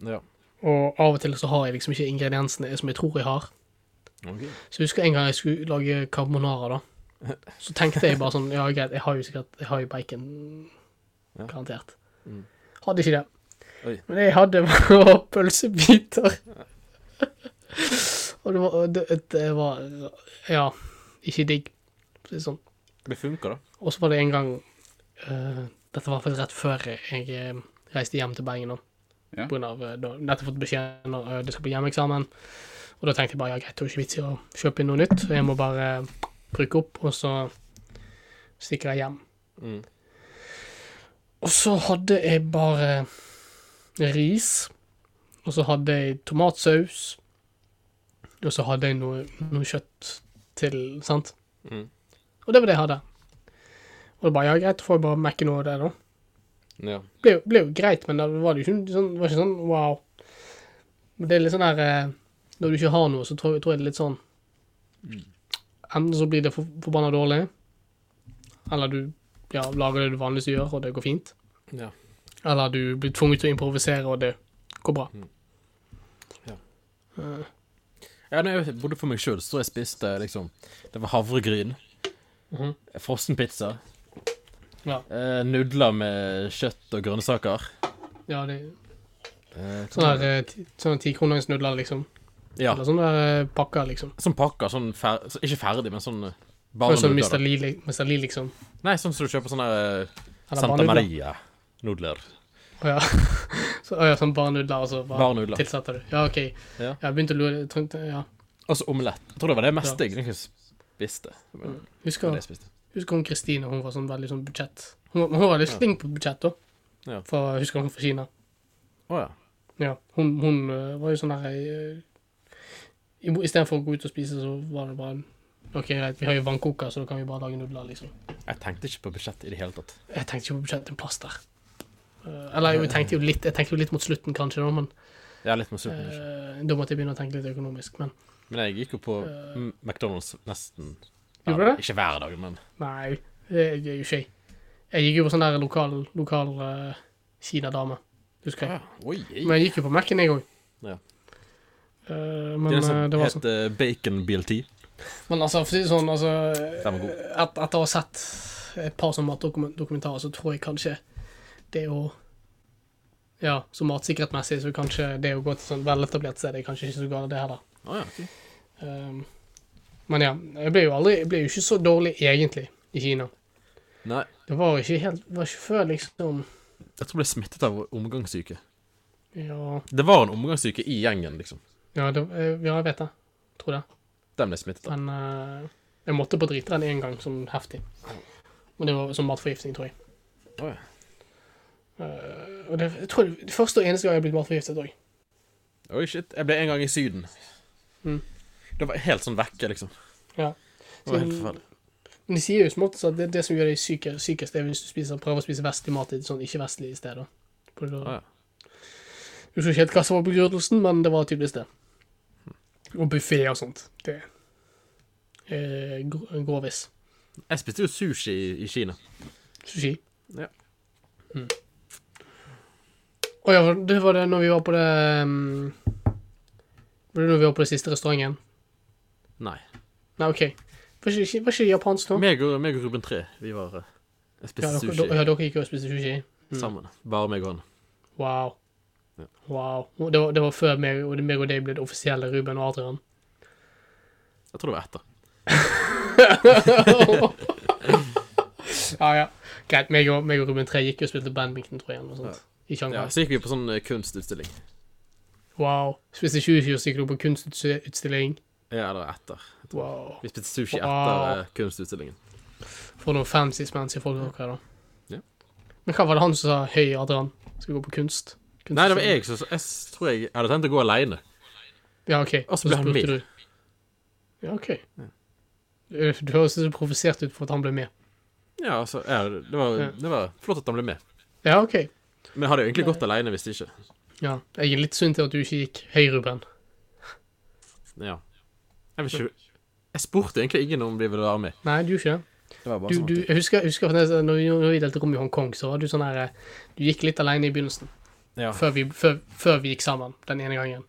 Speaker 2: Ja.
Speaker 1: Og av og til så har jeg liksom ikke ingrediensene som jeg tror jeg har.
Speaker 2: Ok.
Speaker 1: Så jeg husker en gang jeg skulle lage carbonara, da. Så tenkte jeg bare sånn Ja, greit, jeg har jo sikkert Jeg har jo bacon.
Speaker 2: Ja.
Speaker 1: Garantert.
Speaker 2: Mm.
Speaker 1: Hadde ikke det.
Speaker 2: Oi.
Speaker 1: Men det jeg hadde, var *laughs* pølsebiter. Og det var, og det, det var Ja, ikke digg. for å si det Sånn.
Speaker 2: Det funker, da.
Speaker 1: Og så var det en gang eh, Dette var faktisk rett før jeg eh, reiste hjem til Bergen. da.
Speaker 3: Ja.
Speaker 1: På grunn av, eh, da, nettopp fått beskjed når eh, det skal på hjemmeeksamen. Og da tenkte jeg bare ja, greit, det er ikke vits i å kjøpe inn noe nytt. Jeg må bare eh, bruke opp, og så stikker jeg hjem.
Speaker 2: Mm.
Speaker 1: Og så hadde jeg bare ris. Og så hadde jeg tomatsaus. Og så hadde jeg noe, noe kjøtt til, sant.
Speaker 2: Mm.
Speaker 1: Og det var det jeg hadde. Og det bare, ja, greit, får jeg bare mekke noe av det, da.
Speaker 2: Ja.
Speaker 1: Det ble, jo- ble jo greit, men det var jo ikke sånn, det var ikke sånn wow. Men det er litt sånn der eh, Når du ikke har noe, så tror, tror jeg det er litt sånn Enten så blir det for, forbanna dårlig, eller du ja, lager det du vanligvis gjør, og det går fint.
Speaker 2: Ja.
Speaker 1: Eller du blir tvunget til å improvisere, og det går bra.
Speaker 2: Mm. Ja.
Speaker 1: Eh,
Speaker 2: Ja, når jeg bodde for meg sjøl, så jeg spiste liksom Det var havregryn.
Speaker 1: Mhm.
Speaker 2: Frossen pizza.
Speaker 1: Ja.
Speaker 2: Eh, nudler med kjøtt og grønnsaker.
Speaker 1: ja, det
Speaker 2: Eh,
Speaker 1: Sånne der, eh, ti- sånne tikronersnudler, liksom.
Speaker 2: ja.
Speaker 1: Eller sånne der, eh, pakker, liksom.
Speaker 2: Sånn pakker. Sånn fer så- ikke ferdig, men sånn eh,
Speaker 1: Bare
Speaker 2: bare
Speaker 1: sånn Mr.
Speaker 2: nudler. da.
Speaker 1: Lee, li- Mr. Lee, liksom.
Speaker 2: Nei, sånn som du kjøper sånne
Speaker 1: Eller
Speaker 2: eh, Santa
Speaker 1: barnenudler.
Speaker 2: Maria-nudler.
Speaker 1: Å ja. Så, å ja, *laughs* sånn barnudler, og så bare
Speaker 2: Bare nudler.
Speaker 1: tilsetter du. Ja, OK.
Speaker 2: Ja.
Speaker 1: Jeg begynte å lure jeg tenkte, ja.
Speaker 2: Og så omelett. Jeg tror det var det meste jeg egentlig spiste. Det var det
Speaker 1: Husker,
Speaker 2: jeg spiste.
Speaker 1: husker hun Kristine, hun var sånn veldig sånn budsjett. Hun, var- hun var litt
Speaker 2: Ja.
Speaker 1: flink på budsjett, da.
Speaker 2: Ja.
Speaker 1: For, husker hun fra Kina.
Speaker 2: Å ja.
Speaker 1: Ja. Hun, hun øh, var jo sånn her øh, i- Istedenfor å gå ut og spise, så var det bare OK, greit, vi har jo vannkoker, så da kan vi bare lage nudler, liksom.
Speaker 2: Jeg tenkte ikke på budsjett i det hele tatt.
Speaker 1: Jeg tenkte ikke på budsjett, en plass der. Eh, Eller jo, jeg tenkte jo litt, jeg tenkte jo litt mot slutten, kanskje, da, men
Speaker 2: Jeg er litt mer sulten. kanskje.
Speaker 1: eh, da måtte jeg begynne å tenke litt økonomisk. Men
Speaker 2: Men jeg gikk jo på mm, McDonald's nesten
Speaker 1: eh. Gjorde
Speaker 2: hver-
Speaker 1: du det?
Speaker 2: Ikke hver dag, men
Speaker 1: Nei, det er jo ikke jeg. Jeg gikk jo på sånn der lokal, lokal eh, Kina-dame, husker jeg.
Speaker 2: Ja, Oi, ei.
Speaker 1: Men jeg gikk jo på Mac-en, jeg òg.
Speaker 2: Ja.
Speaker 1: men
Speaker 2: det er den som
Speaker 1: eh, det var sånn.
Speaker 2: het eh, Bacon BLT.
Speaker 1: Men altså, for å si det sånn, altså
Speaker 2: Den var god.
Speaker 1: eh, et, Etter å ha sett et par sånne matdokumentarer, så tror jeg kanskje det å Ja, så matsikkerhetsmessig, så kanskje det å gå til sånn veletablert sted er kanskje ikke så galt, det heller.
Speaker 2: Å ja. ok.
Speaker 1: Um, men ja, jeg ble jo aldri Jeg ble jo ikke så dårlig, egentlig, i Kina.
Speaker 2: Nei,
Speaker 1: Det var ikke helt Det var ikke før liksom
Speaker 2: jeg tror jeg ble smittet av omgangssyke.
Speaker 1: Ja,
Speaker 2: Det var en omgangssyke i gjengen, liksom.
Speaker 1: ja, det, eh, ja jeg vet det. Tror det.
Speaker 2: Den ble smittet av.
Speaker 1: Men eh, jeg måtte på dritrenn én gang, som heftig. Men det var som matforgiftning, tror jeg.
Speaker 2: Å ja.
Speaker 1: Eh, og det, jeg tror det, det første og eneste gang jeg er blitt matforgiftet òg.
Speaker 2: Oi, shit. Jeg ble en gang i Syden.
Speaker 1: Mm.
Speaker 2: Det var helt sånn vekke, liksom.
Speaker 1: Ja.
Speaker 2: Det var helt forferdelig.
Speaker 1: Men de sier jo som oftest at det, det som gjør deg syk, sykest, det er hvis du spiser, prøver å spise vestlig mat i et sånn ikke-vestlig sted. Da. For da-
Speaker 2: Å ja.
Speaker 1: Jeg husker ikke helt hva som var begrunnelsen, men det var tydeligvis det. Og buffé og sånt. Det er gro- grovis.
Speaker 2: Jeg spiste jo sushi i, i Kina.
Speaker 1: Sushi.
Speaker 2: Ja.
Speaker 1: Mm. Å ja, var- det var det når vi var på det um, Var det når vi var på det siste restauranten?
Speaker 2: Nei.
Speaker 1: Nei, OK. Var ikke, ikke- var ikke det japansk nå?
Speaker 2: Meg og, meg og Ruben 3, vi var eh, Jeg
Speaker 1: Ja,
Speaker 2: spiste
Speaker 1: dere,
Speaker 2: sushi
Speaker 1: dere- ja, dere gikk jo og spiste sushi. Mm.
Speaker 2: sammen. Bare meg og han.
Speaker 1: Wow.
Speaker 2: Ja.
Speaker 1: Wow. Det var, det var før meg og, meg og deg ble det offisielle Ruben og Adrian.
Speaker 2: Jeg tror det var etter.
Speaker 1: ja, Ah, ja. Greit. Meg og, meg og Ruben 3 gikk jo og spilte badminton, tror jeg. Eller noe sånt. I
Speaker 2: Ja,
Speaker 1: Shanghai.
Speaker 2: så gikk vi på sånn eh, kunstutstilling.
Speaker 1: Wow. Spiste 20 og stikket opp på kunstutstilling.
Speaker 2: Ja, eller etter.
Speaker 1: Wow.
Speaker 2: Vi spiste sushi
Speaker 1: Wow.
Speaker 2: etter eh, kunstutstillingen.
Speaker 1: For noen fancy, fancy folk dere er, da.
Speaker 2: Ja.
Speaker 1: Men hva var det han som sa 'Hei, Adrian, skal vi gå på kunst'? kunst
Speaker 2: Nei, det var jeg som Jeg s- tror jeg hadde tenkt å gå aleine.
Speaker 1: Ja, OK.
Speaker 2: Og så ble han
Speaker 1: spurte
Speaker 2: med.
Speaker 1: Du. Ja, OK. Du du høres så provosert ut for at han ble med.
Speaker 2: Ja, altså, ja, det, var,
Speaker 1: Ja.
Speaker 2: det var flott at han ble med.
Speaker 1: Ja, OK.
Speaker 2: Men jeg hadde jo egentlig gått alene hvis ikke.
Speaker 1: Ja. Jeg er litt synd til at du ikke gikk høy, Ruben.
Speaker 2: Ja. Jeg vet ikke Jeg spurte egentlig ingen om de ville være med.
Speaker 1: Nei, du gjorde ikke det.
Speaker 2: Det var bare
Speaker 1: Du,
Speaker 2: sånn at
Speaker 1: du,
Speaker 2: jeg-
Speaker 1: jeg husker, jeg husker faktisk at når vi, når vi delte rom i Hongkong, så var du sånn her eh, Du gikk litt alene i begynnelsen,
Speaker 2: ja.
Speaker 1: før, vi, før, før vi gikk sammen den ene gangen.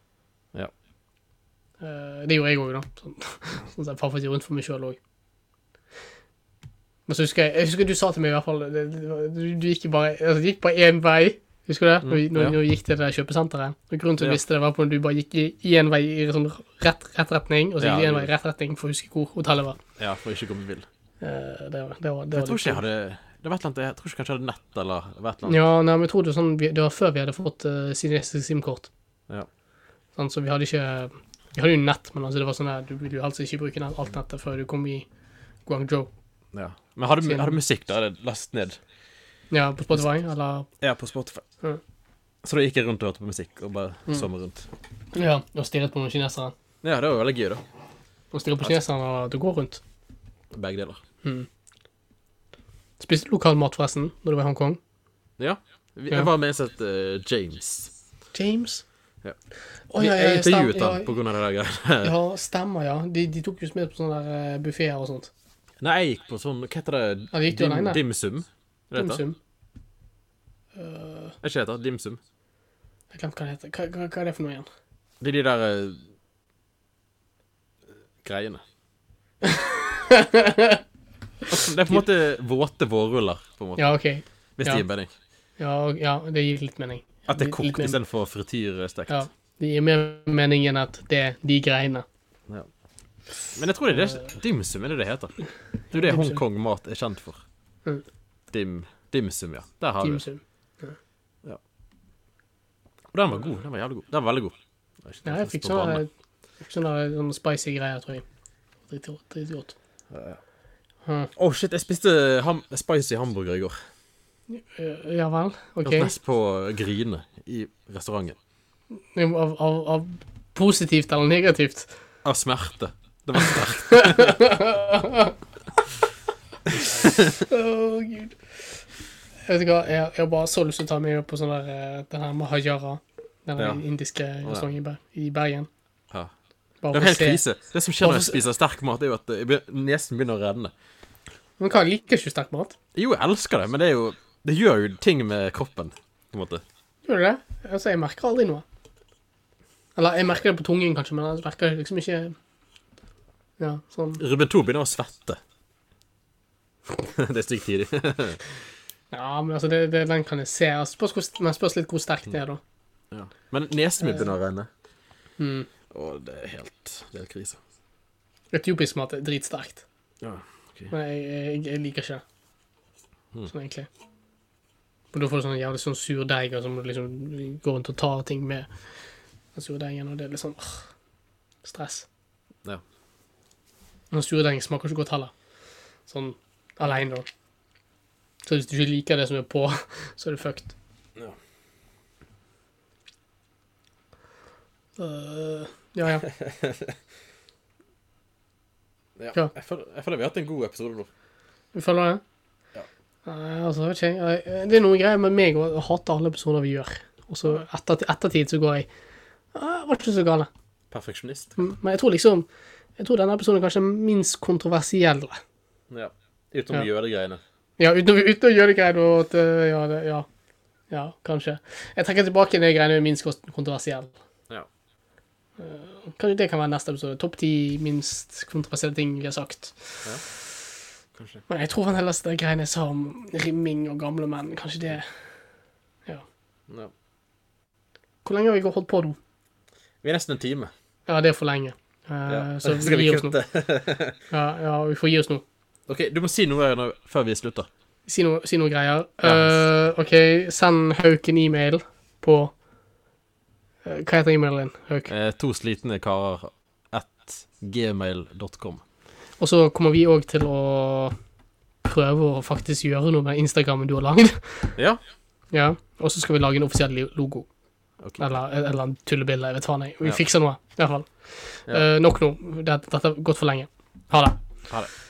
Speaker 2: Ja.
Speaker 1: Eh, det gjorde jeg òg, da. Sånn, *laughs* sånn at jeg farfet rundt for meg sjøl òg. Men så husker jeg, jeg husker du sa til meg i hvert fall det, det, var- du, du gikk jo bare altså, du gikk bare én vei. Husker du det? Når vi, når,
Speaker 2: Mm, ja.
Speaker 1: når vi gikk til det der kjøpesenteret. Og Grunnen til at
Speaker 2: Ja.
Speaker 1: jeg visste det, var på at du bare gikk i i en vei i sånn rett, rett retning, og så
Speaker 2: Ja,
Speaker 1: gikk du i en vei
Speaker 2: det-
Speaker 1: i rett retning for å huske hvor hotellet var.
Speaker 2: ja, for ikke å komme vill.
Speaker 1: Eh, det var, det var, det var
Speaker 2: Jeg
Speaker 1: litt
Speaker 2: tror
Speaker 1: sånn.
Speaker 2: ikke jeg hadde Det var et eller annet Jeg tror ikke kanskje jeg hadde nett eller et eller annet.
Speaker 1: Ja, nei, men jeg tror det, var sånn, vi, det var før vi hadde fått uh, kinesisk SIM-kort.
Speaker 2: Ja.
Speaker 1: Sånn, så vi hadde ikke Vi hadde jo nett, men altså, det var sånn der, du ville jo helst ikke bruke nett, alt nettet før du kom i Guangzhou.
Speaker 2: Ja. Men hadde, jeg hadde musikk, da? Hadde jeg lastet ned?
Speaker 1: Ja, på Spotify, eller
Speaker 2: Ja, på Spotify.
Speaker 1: Mm.
Speaker 2: Så da gikk jeg rundt og hørte på musikk, og bare så meg rundt.
Speaker 1: Ja, og stirret på noen kinesere.
Speaker 2: Ja, det var veldig gøy, da.
Speaker 1: Og stirret på
Speaker 2: Altså-
Speaker 1: kinesere når du går rundt.
Speaker 2: Begge deler.
Speaker 1: Spiste lokal mat, forresten, når du var i Hongkong.
Speaker 2: Ja. Vi-
Speaker 1: Ja.
Speaker 2: Jeg var med en som het eh, James.
Speaker 1: James.
Speaker 2: Ja.
Speaker 1: Å,
Speaker 2: Vi-
Speaker 1: ja, ja,
Speaker 2: jeg
Speaker 1: ja, stem-
Speaker 2: intervjuet han på grunn av det der
Speaker 1: Ja,
Speaker 2: greiene.
Speaker 1: ja, stemmer, ja. De, de tok jo med på sånne der uh, buffeer og sånt.
Speaker 2: Nei, jeg gikk på sånn Hva heter det?
Speaker 1: Ja, det gikk du alene.
Speaker 2: Dim sum? Er det det?
Speaker 1: Dimsum.
Speaker 2: Er ikke det det? Dim sum.
Speaker 1: Jeg glemte hva det heter. Hva, hva, hva er det for noe igjen?
Speaker 2: Det er de der eh, greiene. Altså, *laughs* det er på en måte våte vårruller, på en måte,
Speaker 1: Ja, OK.
Speaker 2: hvis
Speaker 1: ja.
Speaker 2: det gir mening.
Speaker 1: Ja, ja, det gir litt mening.
Speaker 2: At det
Speaker 1: Litt-
Speaker 2: er
Speaker 1: litt
Speaker 2: kokt
Speaker 1: mer-
Speaker 2: istedenfor frityrstekt.
Speaker 1: Ja, det gir mer mening enn at det er de greiene.
Speaker 2: Men jeg tror det er det dimsum er det det heter. Det er jo det
Speaker 1: Dim sum.
Speaker 2: Hongkong-mat er kjent for.
Speaker 1: Mm.
Speaker 2: Dim, dimsum, ja. Der har vi det.
Speaker 1: Dimsum.
Speaker 2: Og den var god. Den var jævlig god. Den var veldig god. Det er ikke-
Speaker 1: Ja, jeg fikk eh,
Speaker 2: det er
Speaker 1: sånne,
Speaker 2: vanlig.
Speaker 1: jeg fikk sånne, sånne spicy greier, tror jeg. Dritgodt. dritgodt. Hm.
Speaker 2: Å, shit, jeg spiste ham spicy hamburger i går.
Speaker 1: Eh, Ja vel, OK.
Speaker 2: Okay. Mest på Gryne i restauranten.
Speaker 1: Av, av, av positivt eller
Speaker 2: *laughs*
Speaker 1: negativt?
Speaker 2: Av smerte. Det var sterkt.
Speaker 1: Å, gud. Vet du hva, jeg, jeg har bare så lyst til å ta meg med på sånn der eh, Den her Mahajara. Den
Speaker 2: Ja.
Speaker 1: der indiske restauranten i Ber- i Bergen.
Speaker 2: Ja. Det
Speaker 1: Bare for
Speaker 2: er
Speaker 1: å
Speaker 2: helt
Speaker 1: se.
Speaker 2: krise. Det som skjer når
Speaker 1: Bare
Speaker 2: jeg
Speaker 1: for-
Speaker 2: spiser sterk mat, er jo at jeg begyn- nesen begynner å renne.
Speaker 1: Men hva, jeg liker ikke sterk mat.
Speaker 2: Jo, jeg elsker det, men det er jo Det gjør jo ting med kroppen, på en måte.
Speaker 1: Gjør det det? Altså, jeg merker aldri noe. Eller jeg merker det på tungen, kanskje, men jeg merker det liksom ikke Ja, sånn.
Speaker 2: Ruben 2 begynner å svette. *laughs* det er stygt tidlig.
Speaker 1: Ja, men altså, det, det, den kan jeg se. Altså, spørs, hvor, men spørs litt hvor sterkt det er, da.
Speaker 2: Men nesen min begynner å renne.
Speaker 1: Mm.
Speaker 2: Og det er helt Det er helt krise.
Speaker 1: Etiopisk mat er dritsterkt,
Speaker 2: Ja.
Speaker 1: men jeg, jeg, jeg liker ikke det.
Speaker 2: Hmm.
Speaker 1: Sånn egentlig. Og da får du sånn jævlig sånn sur deig, og så må du liksom gå rundt og ta ting med den sure deigen, og det er litt sånn åh, stress.
Speaker 2: Ja.
Speaker 1: Men den sure deigen smaker ikke godt heller. Sånn aleine, da. Så hvis du ikke liker det som er på, *laughs* så er du fucked.
Speaker 2: Ja.
Speaker 1: Øh, ja, ja. Ja.
Speaker 2: Jeg, føler, jeg føler vi har hatt en god episode nå.
Speaker 1: Du føler det?
Speaker 2: Ja.
Speaker 1: Nei, altså, jeg vet ikke. jeg- jeg- Det er noen greier med meg og jeg hater alle episoder vi gjør. Og så etter, ettertid så går jeg «Ah, Det var ikke så gale.
Speaker 2: Perfeksjonist.
Speaker 1: Mm, Men jeg tror liksom Jeg tror denne episoden er kanskje den minst kontroversielle.
Speaker 2: Ja. Utenom
Speaker 1: Ja.
Speaker 2: jødegreiene.
Speaker 1: Ja, uten, å- uten å gjøre det greit og at øh, Ja, det, ja. ja kanskje. Jeg trekker tilbake de greiene minst kont- kontroversielle.
Speaker 2: Ja.
Speaker 1: Kanskje det kan være neste episode. Topp ti minst kontroversielle ting vi har sagt.
Speaker 2: Kanskje.
Speaker 1: Men jeg tror fremdeles de greiene jeg sa om rimming og gamle menn, kanskje det Ja.
Speaker 2: Ja.
Speaker 1: Hvor lenge har vi holdt på nå?
Speaker 2: Vi er nesten en time.
Speaker 1: Ja, det er for lenge. Eh,
Speaker 2: *laughs*
Speaker 1: Så vi
Speaker 2: Skal vi
Speaker 1: gir oss nå.
Speaker 2: kutte?
Speaker 1: Ja, ja, vi får gi oss nå.
Speaker 2: OK, du må si noe nå, før vi slutter.
Speaker 1: Si, noe- si noen greier.
Speaker 2: Ja.
Speaker 1: Eh, OK, send Hauk en e-mail på eh, Hva heter e-mailen din, Hauk?
Speaker 2: Eh, to slitne karer at gmail.com.
Speaker 1: Og så kommer vi òg til å prøve å faktisk gjøre noe med den Instagrammen du har lagd. *laughs*
Speaker 2: Ja.
Speaker 1: Ja, Og så skal vi lage en offisiell li- logo.
Speaker 2: Ok.
Speaker 1: Eller et eller annet tullebilde. Jeg vet faen, jeg. Vi
Speaker 2: Ja.
Speaker 1: fikser noe, i hvert fall.
Speaker 2: Ja.
Speaker 1: Eh, nok nå. Dette dette har gått for lenge. Ha det.
Speaker 2: Ha det.